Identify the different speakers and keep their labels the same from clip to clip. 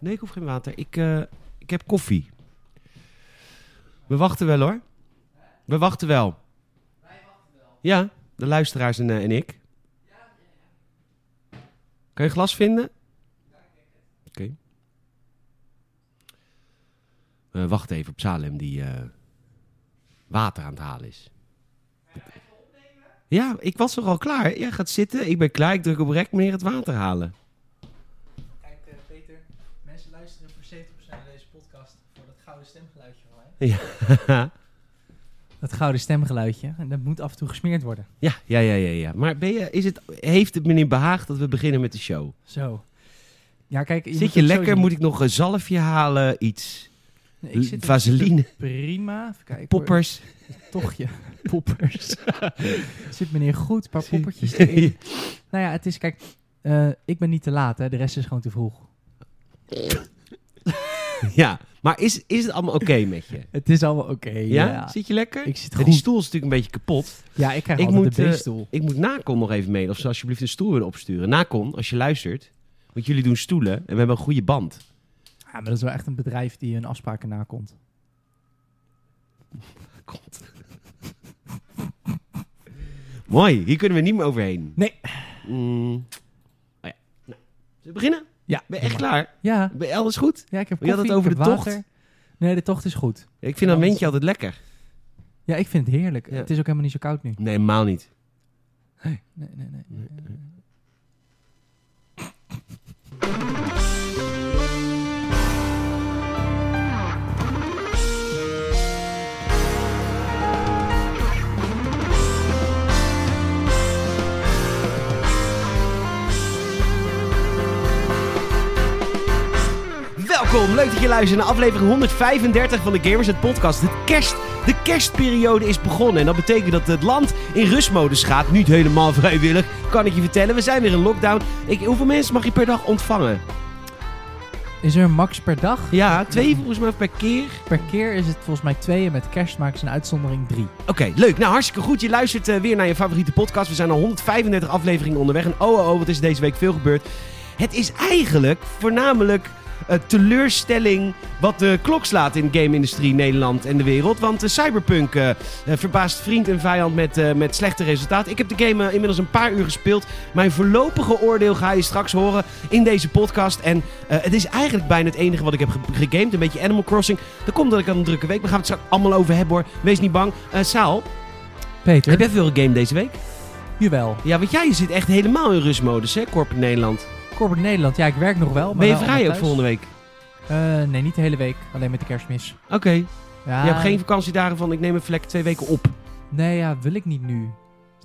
Speaker 1: Nee, ik hoef geen water. Ik, eh, ik heb koffie. We wachten wel hoor. We wachten wel. Wij wachten wel. Ja, de luisteraars en, eh, en ik. Kan je glas vinden? Oké. Eh, wacht even op Salem die eh, water aan het halen is. Ja, ik was er al klaar. Jij gaat zitten, ik ben klaar. Ik druk op rek, meneer, het water halen.
Speaker 2: Kijk, eh, Peter, mensen luisteren voor 70% naar deze podcast voor dat gouden stemgeluidje van mij.
Speaker 1: Ja.
Speaker 2: Dat gouden stemgeluidje, en dat moet af en toe gesmeerd worden.
Speaker 1: Ja, ja, ja, ja. ja. Maar ben je, is het, heeft het meneer behaagd dat we beginnen met de show?
Speaker 2: Zo. Ja, kijk,
Speaker 1: zit je lekker? Moet ik nog een zalfje halen? Iets? Vaseline?
Speaker 2: Prima. Even kijken. Poppers.
Speaker 1: Poppers?
Speaker 2: Tochtje. Poppers. zit meneer goed, een paar poppertjes erin. Nou ja, het is, kijk, eh, ik ben niet te laat, hè. de rest is gewoon te vroeg.
Speaker 1: ja, maar is, is het allemaal oké met je?
Speaker 2: Het is allemaal oké.
Speaker 1: Ja?
Speaker 2: ja?
Speaker 1: Zit je lekker?
Speaker 2: Ik zit
Speaker 1: Ja,
Speaker 2: goed.
Speaker 1: die stoel is natuurlijk een beetje kapot.
Speaker 2: Ja, ik krijg
Speaker 1: Ik
Speaker 2: altijd
Speaker 1: moet,
Speaker 2: de
Speaker 1: eh,
Speaker 2: beestoel.
Speaker 1: Ik moet Nacon nog even mailen of ze alsjeblieft een stoel willen opsturen. Nacon, als je luistert. Want jullie doen stoelen en we hebben een goede band.
Speaker 2: ja, maar dat is wel echt een bedrijf die hun afspraken nakomt.
Speaker 1: Mooi, hier kunnen we niet meer overheen.
Speaker 2: Nee.
Speaker 1: Mm. Oh ja. Nou, zullen we beginnen?
Speaker 2: Ja.
Speaker 1: Ben je echt klaar?
Speaker 2: Ja.
Speaker 1: Ben je alles goed?
Speaker 2: Ja, ik heb
Speaker 1: Je had
Speaker 2: koffie,
Speaker 1: het over
Speaker 2: ik heb
Speaker 1: de tocht.
Speaker 2: water. Nee, de tocht is goed.
Speaker 1: Ik vind dat windje altijd lekker.
Speaker 2: Ja, ik vind het heerlijk.
Speaker 1: Ja.
Speaker 2: Het is ook helemaal niet zo koud nu.
Speaker 1: Nee, helemaal niet.
Speaker 2: Nee, nee, nee. nee, nee.
Speaker 1: Welkom, leuk dat je luistert naar aflevering 135 van de Gamers het Podcast. De, kerst, de kerstperiode is begonnen en dat betekent dat het land in rustmodus gaat. Niet helemaal vrijwillig, kan ik je vertellen. We zijn weer in lockdown. Ik, hoeveel mensen mag je per dag ontvangen?
Speaker 2: Is er een max per dag?
Speaker 1: Ja, twee volgens mij per keer.
Speaker 2: Per keer is het volgens mij twee en met kerst maken ze een uitzondering drie.
Speaker 1: Oké, leuk. Nou, hartstikke goed. Je luistert eh, weer naar je favoriete podcast. We zijn al 135 afleveringen onderweg. En oh, oh, oh, wat is deze week veel gebeurd. Het is eigenlijk voornamelijk eh, teleurstelling wat de klok slaat in de game-industrie Nederland en de wereld. Want eh, Cyberpunk eh, eh, verbaast vriend en vijand met, eh, met slechte resultaten. Ik heb de game eh, inmiddels een paar uur gespeeld. Mijn voorlopige oordeel ga je straks horen in deze podcast. En eh, het is eigenlijk bijna het enige wat ik heb ge- gegamed. Een beetje Animal Crossing. Dat komt dat ik aan een drukke week. We gaan het straks allemaal over hebben hoor. Wees niet bang. Eh Saal,
Speaker 2: Peter?
Speaker 1: heb jij veel gegamed deze week?
Speaker 2: Jawel.
Speaker 1: Ja, want jij zit echt helemaal in rustmodus hè, Corporate Nederland.
Speaker 2: Corporate Nederland. Ja, ik werk nog wel. Oh, Maar
Speaker 1: ben je
Speaker 2: wel
Speaker 1: vrij ook
Speaker 2: allemaal thuis.
Speaker 1: volgende week?
Speaker 2: Eh, nee, niet de hele week. Alleen met de kerstmis.
Speaker 1: Oké.
Speaker 2: Ja,
Speaker 1: Je hebt geen vakantiedagen van ik neem even lekker twee weken op.
Speaker 2: Nee, ja, wil ik niet nu.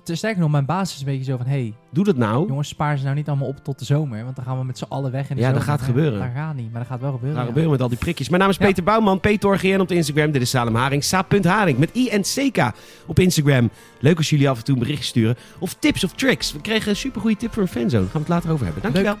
Speaker 2: Sterker nog, mijn baas is een beetje zo van... hey,
Speaker 1: Doe dat nou.
Speaker 2: jongens, spaar ze nou niet allemaal op tot de zomer. Want dan gaan we met z'n allen weg in de
Speaker 1: Ja, dat
Speaker 2: zomer.
Speaker 1: gaat gebeuren.
Speaker 2: Dat gaat niet, maar dat gaat wel gebeuren.
Speaker 1: Gaan
Speaker 2: ja.
Speaker 1: gebeuren met al die prikjes. Mijn naam is
Speaker 2: Ja.
Speaker 1: Peter Bouwman, PetorGN op de Instagram. Dit is Salem Haring, sa.haring met INCK op Instagram. Leuk als jullie af en toe een berichtje sturen. Of tips of tricks. We kregen een supergoeie tip voor een fanzone. Daar gaan we het later over hebben. Dankjewel.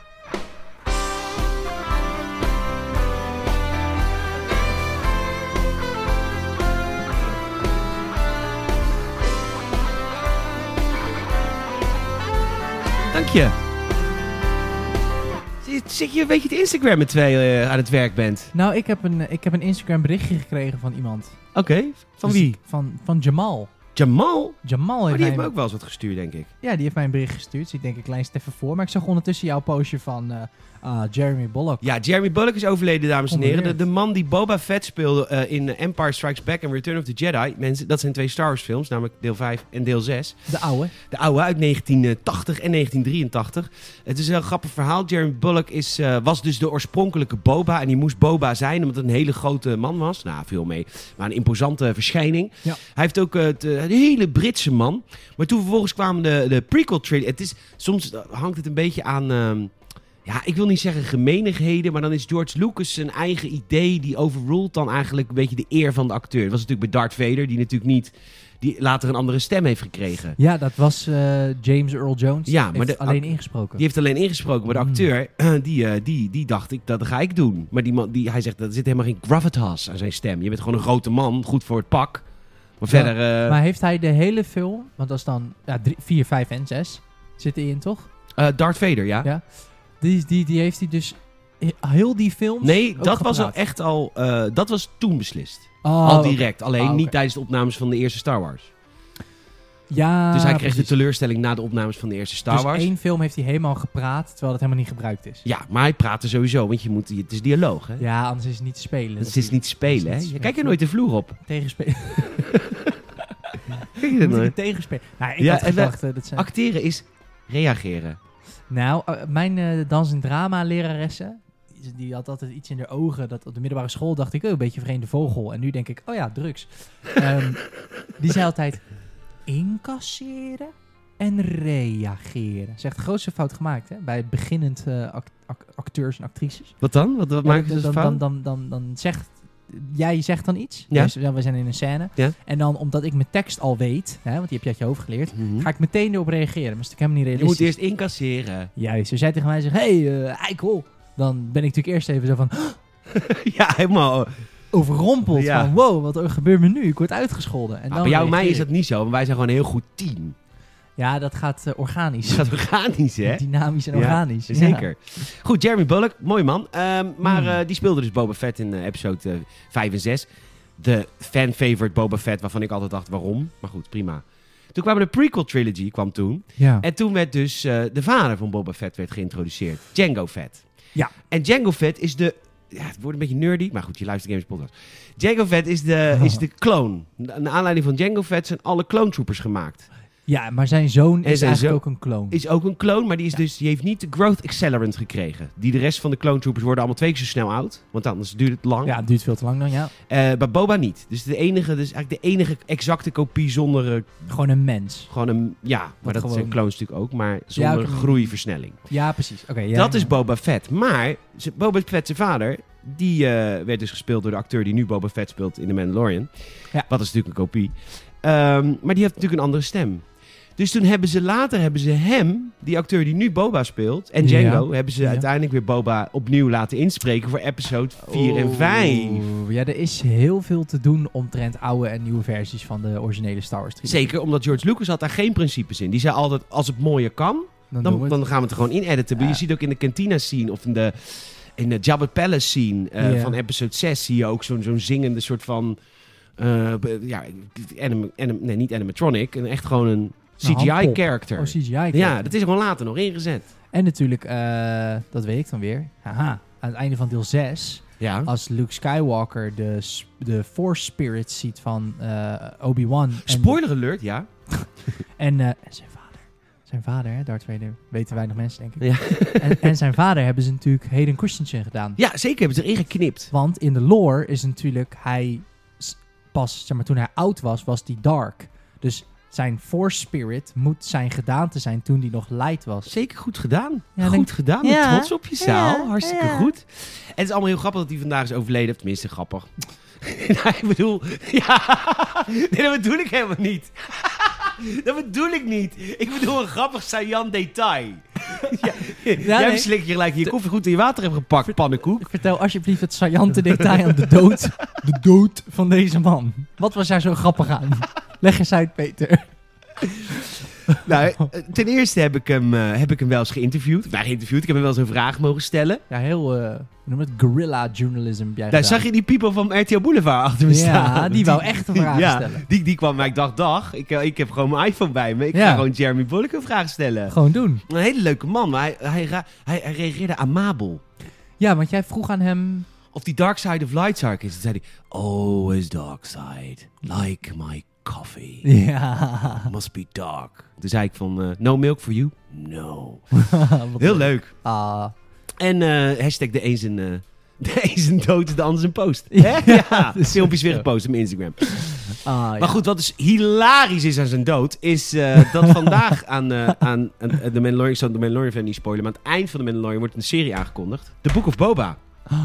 Speaker 1: Dank je. Zit- Zit je een beetje te Instagrammen terwijl je eh, aan het werk bent?
Speaker 2: Nou, ik heb, een, ik heb een Instagram berichtje gekregen van iemand.
Speaker 1: Oké, van
Speaker 2: Dus
Speaker 1: wie?
Speaker 2: ik- Van, van Jamal.
Speaker 1: Jamal?
Speaker 2: Jamal
Speaker 1: Oh,
Speaker 2: heeft,
Speaker 1: die heeft
Speaker 2: mij,
Speaker 1: me ook wel eens wat gestuurd, denk ik.
Speaker 2: ja, die heeft mij een bericht gestuurd. Dus ik denk, ik klein even voor. Maar ik zag ondertussen jouw postje van eh, ah, Jeremy Bollock.
Speaker 1: Ja, Jeremy Bullock is overleden, dames en heren. De,
Speaker 2: Onbeweerd.
Speaker 1: de man die Boba Fett speelde eh, in Empire Strikes Back en Return of the Jedi. Mensen, dat zijn twee Star Wars films, namelijk deel 5 en deel 6.
Speaker 2: De oude.
Speaker 1: De oude uit 1980 en 1983. Het is een heel grappig verhaal. Jeremy Bullock is, eh, was dus de oorspronkelijke Boba. En die moest Boba zijn, omdat het een hele grote man was. Nou, veel mee. Maar een imposante verschijning.
Speaker 2: Ja.
Speaker 1: Hij heeft ook eh, het, eh, een hele Britse man. Maar toen vervolgens kwamen de, de prequel trilogy. Het is, soms eh, hangt het een beetje aan... ehm, ja, ik wil niet zeggen gemeenigheden, maar dan is George Lucas zijn eigen idee... die overruled dan eigenlijk een beetje de eer van de acteur. Dat was natuurlijk bij Darth Vader, die natuurlijk niet... die later een andere stem heeft gekregen.
Speaker 2: Ja, dat was eh, James Earl Jones.
Speaker 1: Ja,
Speaker 2: Heeft
Speaker 1: maar de-
Speaker 2: alleen ingesproken.
Speaker 1: Die heeft alleen ingesproken, maar de
Speaker 2: Mm.
Speaker 1: acteur, die, eh, die, die dacht ik, dat ga ik doen. Maar die man, die, hij zegt, er zit helemaal geen gravitas aan zijn stem. Je bent gewoon een grote man, goed voor het pak. Maar
Speaker 2: Ja,
Speaker 1: verder, eh,
Speaker 2: Maar heeft hij de hele film, want dat is dan ja, 4, 5 en 6 zitten in, toch?
Speaker 1: eh, Darth Vader, ja?
Speaker 2: Ja. Die, die, die heeft hij dus he- heel die films
Speaker 1: Nee,
Speaker 2: ook
Speaker 1: dat was al
Speaker 2: gepraat?
Speaker 1: echt al. eh, dat was toen beslist.
Speaker 2: Oh,
Speaker 1: al
Speaker 2: oké.
Speaker 1: direct. Alleen
Speaker 2: Ah, oké.
Speaker 1: niet tijdens de opnames van de eerste Star Wars.
Speaker 2: Ja,
Speaker 1: dus hij kreeg de
Speaker 2: Ah, precies.
Speaker 1: teleurstelling na de opnames van de eerste Star
Speaker 2: Dus
Speaker 1: Wars.
Speaker 2: één film heeft hij helemaal gepraat, terwijl dat helemaal niet gebruikt is.
Speaker 1: Ja, maar hij praatte sowieso, want je moet, het is dialoog, hè?
Speaker 2: Ja, anders is het niet te spelen.
Speaker 1: Het is niet
Speaker 2: Dat
Speaker 1: spelen,
Speaker 2: is
Speaker 1: hè?
Speaker 2: niet
Speaker 1: Je
Speaker 2: spelen.
Speaker 1: kijkt er nooit de vloer op.
Speaker 2: Tegenspelen.
Speaker 1: Kijk je dat
Speaker 2: Moet ik
Speaker 1: nooit?
Speaker 2: het tegenspelen? Nou, ik
Speaker 1: Ja,
Speaker 2: had
Speaker 1: en we-
Speaker 2: gedacht... eh, dat zijn...
Speaker 1: Acteren is reageren.
Speaker 2: Nou, eh, mijn eh, dans- en drama-leraressen, die had altijd iets in haar ogen. Dat op de middelbare school dacht ik, oh, een beetje vreemde vogel. En nu denk ik, oh ja, drugs. Ehm, die zei altijd, incasseren en reageren. Dat is echt de grootste fout gemaakt hè, bij beginnend eh, act- act- acteurs en actrices.
Speaker 1: Wat dan? Wat, wat maakt
Speaker 2: Ja,
Speaker 1: het
Speaker 2: dan,
Speaker 1: dus
Speaker 2: dan,
Speaker 1: fout?
Speaker 2: dan, dan, dan zegt... Jij zegt dan iets.
Speaker 1: Ja.
Speaker 2: Dus, nou, we zijn in een scène.
Speaker 1: Ja.
Speaker 2: En dan, omdat ik mijn tekst al weet, hè, want die heb je uit je hoofd geleerd,
Speaker 1: Mhm.
Speaker 2: ga ik meteen erop reageren. Maar dat is natuurlijk helemaal niet
Speaker 1: Je moet
Speaker 2: realistisch.
Speaker 1: eerst incasseren.
Speaker 2: Juist, als jij tegen mij zegt, hé, hey, eh, eikel. Dan ben ik natuurlijk eerst even zo van
Speaker 1: ja, helemaal.
Speaker 2: overrompeld.
Speaker 1: Ja.
Speaker 2: Van, wow, wat er gebeurt me nu? Ik word uitgescholden. En
Speaker 1: Maar
Speaker 2: dan
Speaker 1: bij jou en mij
Speaker 2: reageer
Speaker 1: is dat
Speaker 2: ik.
Speaker 1: niet zo, want wij zijn gewoon een heel goed team.
Speaker 2: Ja, dat gaat eh, organisch.
Speaker 1: Is dat organisch, hè?
Speaker 2: Dynamisch en
Speaker 1: Ja,
Speaker 2: organisch. ja.
Speaker 1: Zeker. Goed, Jeremy Bullock, mooi man. Ehm, maar
Speaker 2: Hmm.
Speaker 1: eh, die speelde dus Boba Fett in eh, episode eh, 5 en 6. De fan-favorite Boba Fett, waarvan ik altijd dacht waarom. Maar goed, prima. Toen kwam de prequel trilogy, kwam toen.
Speaker 2: Ja.
Speaker 1: En toen werd dus eh, de vader van Boba Fett werd geïntroduceerd. Django Fett.
Speaker 2: Ja.
Speaker 1: En Django Fett is de... Ja, het wordt een beetje nerdy, maar goed, je luistert Games Podcast. Django Fett is de, is de clone. Na- Naar aanleiding van Django Fett zijn alle clone troopers gemaakt.
Speaker 2: ja, maar zijn zoon
Speaker 1: En
Speaker 2: is
Speaker 1: zijn
Speaker 2: eigenlijk
Speaker 1: zoon
Speaker 2: ook een kloon.
Speaker 1: Is ook een clone, maar die, is
Speaker 2: Ja.
Speaker 1: dus, die heeft niet de growth accelerant gekregen. Die de rest van de clone troopers worden allemaal twee keer zo snel oud. Want anders duurt het lang.
Speaker 2: Ja, het duurt veel te lang dan, ja.
Speaker 1: Eh, bij Boba niet. Dus de enige, dus eigenlijk de enige exacte kopie zonder eh,
Speaker 2: Gewoon een mens.
Speaker 1: gewoon een. Ja, maar dat
Speaker 2: gewoon-
Speaker 1: zijn clones natuurlijk ook, maar zonder
Speaker 2: oké.
Speaker 1: groeiversnelling.
Speaker 2: Ja, precies. Oké. ja,
Speaker 1: dat
Speaker 2: ja.
Speaker 1: is Boba Fett. Maar ze- Boba Fett, zijn vader, die eh, werd dus gespeeld door de acteur die nu Boba Fett speelt in The Mandalorian.
Speaker 2: Ja.
Speaker 1: Wat is natuurlijk een kopie. Ehm, maar die heeft natuurlijk een andere stem. Dus toen hebben ze later hebben ze hem, die acteur die nu Boba speelt, en Django, hebben ze
Speaker 2: Ja.
Speaker 1: uiteindelijk weer Boba opnieuw laten inspreken voor episode 4 en
Speaker 2: Oeh,
Speaker 1: 5.
Speaker 2: Ja, er is heel veel te doen omtrent oude en nieuwe versies van de originele Star Wars trilogie.
Speaker 1: Zeker omdat George Lucas had daar geen principes in. Die zei altijd, als het mooier kan,
Speaker 2: Dan, doen we
Speaker 1: dan,
Speaker 2: het.
Speaker 1: dan gaan we het er gewoon in editen. Maar
Speaker 2: Ja.
Speaker 1: Je ziet ook in de cantina scene of in de, in de Jabba Palace scene eh,
Speaker 2: Ja.
Speaker 1: van episode 6 zie je ook zo'n zo'n zingende soort van. eh, b- ja, anim, anim- nee, niet animatronic. Een, echt gewoon een
Speaker 2: Een handpop.
Speaker 1: CGI-character.
Speaker 2: Oh, CGI.
Speaker 1: ja,
Speaker 2: character.
Speaker 1: dat is gewoon later nog ingezet.
Speaker 2: En natuurlijk, eh, dat weet ik dan weer. Haha. Aan het einde van deel 6,
Speaker 1: Ja.
Speaker 2: als Luke Skywalker de, s- de Force Spirit ziet van eh, Obi-Wan. en-
Speaker 1: Spoiler alert, ja.
Speaker 2: En, eh, en zijn vader. Zijn vader, hè, Darth Vader. Weten weinig mensen, denk ik.
Speaker 1: Ja,
Speaker 2: En, en zijn vader hebben ze natuurlijk Hayden Christensen gedaan.
Speaker 1: ja zeker hebben ze erin geknipt.
Speaker 2: Want in de lore is natuurlijk hij s- pas, zeg maar, toen hij oud was, was die dark. Dus zijn Force Spirit moet zijn gedaante zijn toen die nog light was.
Speaker 1: Zeker goed gedaan.
Speaker 2: Ja,
Speaker 1: goed
Speaker 2: denk-
Speaker 1: gedaan.
Speaker 2: Ja.
Speaker 1: Trots op je zaal.
Speaker 2: Ja,
Speaker 1: Hartstikke
Speaker 2: ja.
Speaker 1: goed. En het is allemaal heel grappig dat hij vandaag is overleden. Tenminste, grappig. nou, ik bedoel... Ja. Nee, dat bedoel ik helemaal niet. dat bedoel ik niet. Ik bedoel een grappig, saillant detail. ja, jij
Speaker 2: nee.
Speaker 1: slik je gelijk je koffie goed in je water hebt gepakt, pannenkoek.
Speaker 2: Vertel alsjeblieft het saillante detail aan de dood. De dood van deze man. Wat was daar zo grappig aan? Leg eens uit, Peter.
Speaker 1: Nou, eh, ten eerste heb ik hem, eh, heb ik hem wel eens geïnterviewd. Nou, geïnterviewd. Ik heb hem wel eens een vraag mogen stellen.
Speaker 2: Ja, heel, eh hoe noem je het, guerrilla journalism heb jij
Speaker 1: Daar
Speaker 2: gedaan.
Speaker 1: zag je die people van RTL Boulevard achter me
Speaker 2: Ja,
Speaker 1: staan.
Speaker 2: die wou echt een vraag stellen.
Speaker 1: Die, die kwam, maar ik dacht, dag, ik, eh, ik heb gewoon mijn iPhone bij me. Ik
Speaker 2: Ja.
Speaker 1: ga gewoon Jeremy Bullock een vraag stellen.
Speaker 2: Gewoon doen.
Speaker 1: Een hele leuke man, maar hij, hij, ra- hij, hij reageerde amabel.
Speaker 2: Ja, want jij vroeg aan hem...
Speaker 1: Of die Dark Side of Light Side is. Toen zei hij, always dark side, like my coffee.
Speaker 2: Ja.
Speaker 1: Must be dark. Toen zei ik van, eh, no milk for you? No.
Speaker 2: Wat
Speaker 1: Heel leuk.
Speaker 2: Ah.
Speaker 1: En eh, hashtag de een zijn... eh, de een zijn dood, de ander zijn post.
Speaker 2: Ja, dus-
Speaker 1: Hè? ja,
Speaker 2: dat is
Speaker 1: filmpjes weer
Speaker 2: zo.
Speaker 1: gepost op mijn Instagram.
Speaker 2: Ah, ja.
Speaker 1: Maar goed, wat dus hilarisch is aan zijn dood, is eh, dat vandaag aan, eh, aan eh, de Mandalorian, ik zal de Mandalorian verder niet spoilen, maar aan het eind van de Mandalorian wordt een serie aangekondigd. The Book of Boba.
Speaker 2: Oh,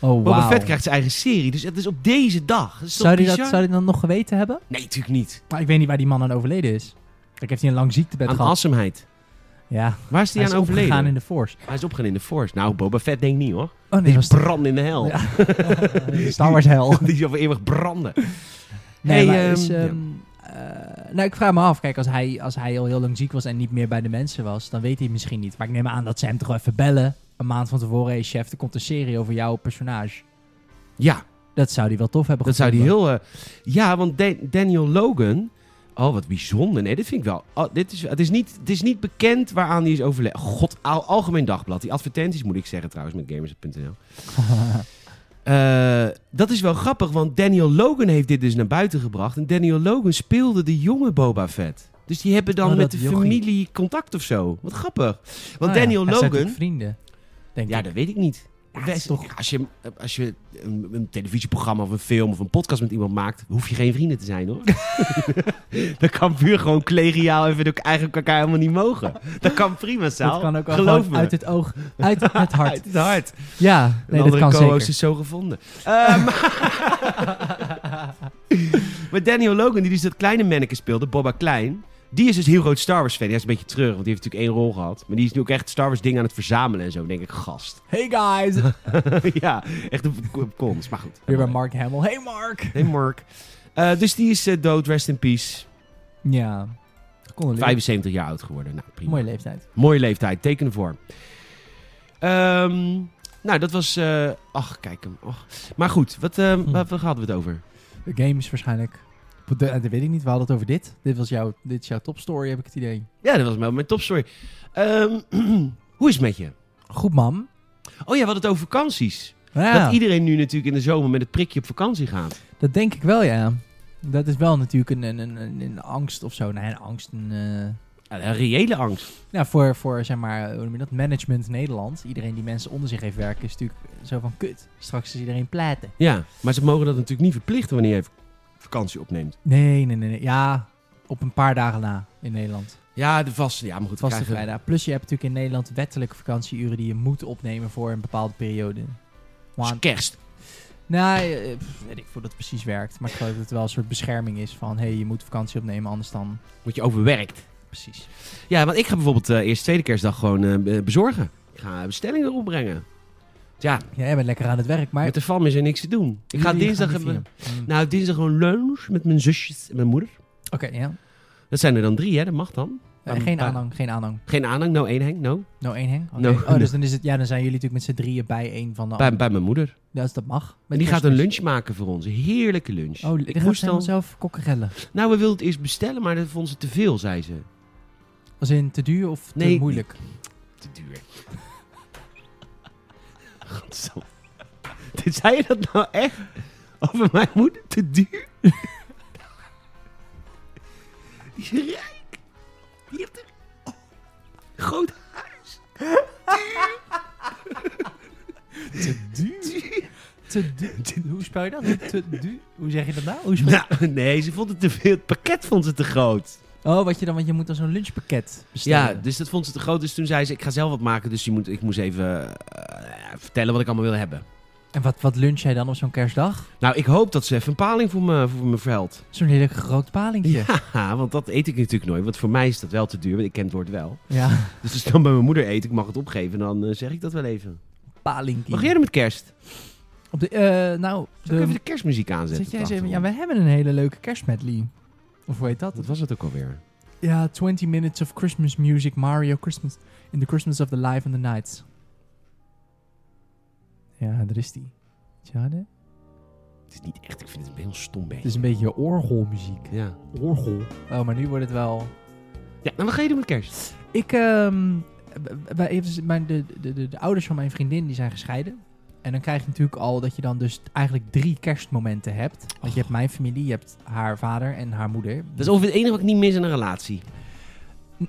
Speaker 1: Boba
Speaker 2: wauw.
Speaker 1: Fett krijgt zijn eigen serie, dus het is op deze dag. Dat is toch
Speaker 2: Zou die, dat,
Speaker 1: bizar?
Speaker 2: zou die dat nog geweten hebben?
Speaker 1: Nee, natuurlijk niet.
Speaker 2: Maar ik weet niet waar die man aan overleden is. Ik heeft hij een lang ziektebed
Speaker 1: aan
Speaker 2: gehad.
Speaker 1: awesomeheid.
Speaker 2: Ja,
Speaker 1: Waar is die
Speaker 2: hij is
Speaker 1: aan overleden?
Speaker 2: opgegaan in de Force.
Speaker 1: Hij is opgegaan in de Force. Nou, Boba Fett denk ik niet hoor.
Speaker 2: Oh nee,
Speaker 1: Die
Speaker 2: was
Speaker 1: is brand in de hel.
Speaker 2: Ja. Star Wars hel.
Speaker 1: Die zal voor eeuwig branden.
Speaker 2: Nee,
Speaker 1: Hey,
Speaker 2: maar is,
Speaker 1: ehm,
Speaker 2: ehm, eh, nou, ik vraag me af. Kijk, als hij, als hij al heel lang ziek was en niet meer bij de mensen was, dan weet hij het misschien niet. Maar ik neem aan dat ze hem toch wel even bellen. Oké, een maand van tevoren... hey chef, er komt een serie over jouw personage.
Speaker 1: Ja,
Speaker 2: Dat zou die wel tof hebben
Speaker 1: dat zou die
Speaker 2: gevonden.
Speaker 1: heel... eh, ja, want Da- Daniel Logan... Oh, wat bijzonder. Nee, dit vind ik wel... oh, dit is, het, is niet, het is niet bekend waaraan die is overleden. God, Al- Algemeen Dagblad. Die advertenties moet ik zeggen trouwens met gamers.nl. Eh, dat is wel grappig, want Daniel Logan heeft dit dus naar buiten gebracht. En Daniel Logan speelde de jonge Boba Fett. Dus die hebben dan
Speaker 2: Oh,
Speaker 1: met
Speaker 2: dat
Speaker 1: de
Speaker 2: jochie.
Speaker 1: familie contact of zo. Wat grappig. Want
Speaker 2: Oh ja,
Speaker 1: Daniel
Speaker 2: hij staat
Speaker 1: Logan...
Speaker 2: natuurlijk vrienden, denk
Speaker 1: Ja,
Speaker 2: ik.
Speaker 1: dat weet ik niet.
Speaker 2: dat
Speaker 1: Wes-
Speaker 2: is toch-
Speaker 1: Als je, eh, als je een, een televisieprogramma of een film of een podcast met iemand maakt, hoef je geen vrienden te zijn hoor. dat kan puur gewoon collegiaal en vind ik eigenlijk elkaar helemaal niet mogen. Dat kan prima, Saal.
Speaker 2: Dat kan ook wel
Speaker 1: Geloof
Speaker 2: gewoon
Speaker 1: me.
Speaker 2: uit het oog, uit het hart.
Speaker 1: Uit het hart.
Speaker 2: Ja, nee,
Speaker 1: een
Speaker 2: dat
Speaker 1: andere
Speaker 2: kan
Speaker 1: co-host
Speaker 2: zeker.
Speaker 1: is zo gevonden. Ehm, maar Daniel Logan, die dus dat kleine manneke speelde, Boba Klein... Die is dus heel groot Star Wars fan. Hij is een beetje terug, want die heeft natuurlijk één rol gehad. Maar die is nu ook echt Star Wars dingen aan het verzamelen en zo. Dan denk ik, gast.
Speaker 2: Hey guys!
Speaker 1: ja, echt een k- kons. Maar goed.
Speaker 2: Weer bij Mark Hamill. Hey Mark!
Speaker 1: Nee, Mark. Eh, dus die is eh, dood, rest in peace.
Speaker 2: Ja, condoleer.
Speaker 1: 75 jaar oud geworden. Nou, prima.
Speaker 2: Mooie leeftijd.
Speaker 1: Mooie leeftijd, tekenen voor. Ehm, nou, dat was... eh, ach, kijk hem. Och. Maar goed, wat, eh,
Speaker 2: Hm.
Speaker 1: waar, waar hadden we het over?
Speaker 2: De game is waarschijnlijk... Dat dat weet ik niet, we hadden het over dit. Dit, was jouw, dit is jouw topstory, heb ik het idee.
Speaker 1: Ja, dat was mijn, mijn topstory. Ehm, hoe is het met je?
Speaker 2: Goed, man.
Speaker 1: Oh ja, we hadden het over vakanties.
Speaker 2: Ja,
Speaker 1: Dat
Speaker 2: dat,
Speaker 1: iedereen nu natuurlijk in de zomer met het prikje op vakantie gaat.
Speaker 2: denk ik wel, ja. Dat is wel natuurlijk een, een, een, een- een angst of zo. Nee, een angst. Een, eh,
Speaker 1: Ja, een reële angst.
Speaker 2: nou, voor, voor, zeg maar, hoe noem je dat? Management Nederland. Iedereen die mensen onder zich heeft werken is natuurlijk zo van kut. Straks is iedereen platen.
Speaker 1: Ja, maar ze mogen dat natuurlijk niet verplichten wanneer je vakantie opneemt.
Speaker 2: Nee, nee, nee, nee. Ja, op een paar dagen na in Nederland.
Speaker 1: Ja, de vaste. Ja, maar goed. we
Speaker 2: Vaste
Speaker 1: krijgen-
Speaker 2: vrijdag. Plus je hebt natuurlijk in Nederland wettelijke vakantieuren die je moet opnemen voor een bepaalde periode.
Speaker 1: Het is
Speaker 2: Want,
Speaker 1: kerst.
Speaker 2: nou, eh, pff, weet ik hoe dat precies werkt. Maar ik geloof dat het wel een soort bescherming is van... hé, hey, je moet vakantie opnemen, anders dan...
Speaker 1: Word je overwerkt.
Speaker 2: Precies.
Speaker 1: Ja, want ik ga bijvoorbeeld eh, eerst tweede kerstdag gewoon eh, be- bezorgen. Ik ga bestellingen opbrengen. Ja,
Speaker 2: Ja, jij bent lekker aan het werk, maar...
Speaker 1: met de fam is er niks te doen. Ik ga
Speaker 2: jullie
Speaker 1: dinsdag...
Speaker 2: gaan niet
Speaker 1: hebben-
Speaker 2: vieren. Mm.
Speaker 1: nou, dinsdag gewoon lunch met mijn zusjes en mijn moeder.
Speaker 2: Oké, ja.
Speaker 1: Dat zijn er dan drie, hè? Dat mag dan.
Speaker 2: Eh,
Speaker 1: Een
Speaker 2: geen
Speaker 1: paar-
Speaker 2: aanhang, geen aanhang.
Speaker 1: Geen aanhang, nou één hang, no.
Speaker 2: No één hang? Oké.
Speaker 1: No.
Speaker 2: Oh, dus dan, is het, ja, dan zijn jullie natuurlijk met z'n drieën bij één van de...
Speaker 1: Bij, bij mijn moeder.
Speaker 2: Ja, dus dat mag.
Speaker 1: En
Speaker 2: Met
Speaker 1: die gaat een
Speaker 2: kerstmis.
Speaker 1: lunch maken voor ons. Een heerlijke lunch.
Speaker 2: Oh,
Speaker 1: ik
Speaker 2: ik
Speaker 1: moest
Speaker 2: moest
Speaker 1: dan...
Speaker 2: zelf kokkerellen.
Speaker 1: Nou, we wilden het eerst bestellen, maar dat vond ze te veel, zei ze.
Speaker 2: Was in te duur of te
Speaker 1: Nee,
Speaker 2: moeilijk?
Speaker 1: Te duur. Godzo. Dit zei je dat nou echt? Over mijn moeder? Te duur? Die is rijk. Die heeft een oh, groot huis.
Speaker 2: Te
Speaker 1: Duur.
Speaker 2: Te du- Hoe spel je dat? Te du- Hoe zeg je dat nou? Hoe spel-
Speaker 1: Nou, nee, ze vond het te veel. Het pakket vond ze te groot.
Speaker 2: Oh, wat je dan, want je moet dan zo'n lunchpakket
Speaker 1: Ja,
Speaker 2: bestellen.
Speaker 1: dus dat vond ze te groot. Dus toen zei ze, ik ga zelf wat maken. Dus je moet, ik moest even eh, vertellen wat ik allemaal wil hebben.
Speaker 2: En wat, wat lunch jij dan op zo'n kerstdag?
Speaker 1: Nou, ik hoop dat ze even een paling voor me, voor me verhelt.
Speaker 2: Zo'n hele groot palingje.
Speaker 1: Ja, want dat eet ik natuurlijk nooit. Want voor mij is dat wel te duur, want ik ken het woord wel.
Speaker 2: Ja,
Speaker 1: Dus als ik dan bij mijn moeder eet, ik mag het opgeven, dan eh, zeg ik dat wel even.
Speaker 2: palingje.
Speaker 1: Mag jij er met kerst?
Speaker 2: Op de, eh, nou,
Speaker 1: Zal ik
Speaker 2: de-
Speaker 1: even de kerstmuziek aanzetten?
Speaker 2: zet jij
Speaker 1: op
Speaker 2: eens
Speaker 1: de
Speaker 2: even... Ja,
Speaker 1: achtergrond?
Speaker 2: we hebben een hele leuke kerstmedley. Of hoe heet dat?
Speaker 1: Wat was het ook alweer?
Speaker 2: Ja, 20 minutes of Christmas music, Mario Christmas. In the Christmas of the life and the night. Ja, daar is die. Ja, hè?
Speaker 1: Het is niet echt, ik vind het een heel stom
Speaker 2: Het
Speaker 1: beetje.
Speaker 2: is een beetje orgelmuziek.
Speaker 1: Ja.
Speaker 2: Orgel. Oh, maar nu wordt het wel...
Speaker 1: ja, nou wat ga je doen met kerst?
Speaker 2: Ik, ehm, w- wij, even- mijn, de, de, de, de ouders van mijn vriendin die zijn gescheiden. En dan krijg je natuurlijk al dat je dan dus eigenlijk drie kerstmomenten hebt. Want
Speaker 1: Och.
Speaker 2: je hebt mijn familie, je hebt haar vader en haar moeder.
Speaker 1: Oh. Dat is ongeveer het enige wat ik niet mis in een relatie.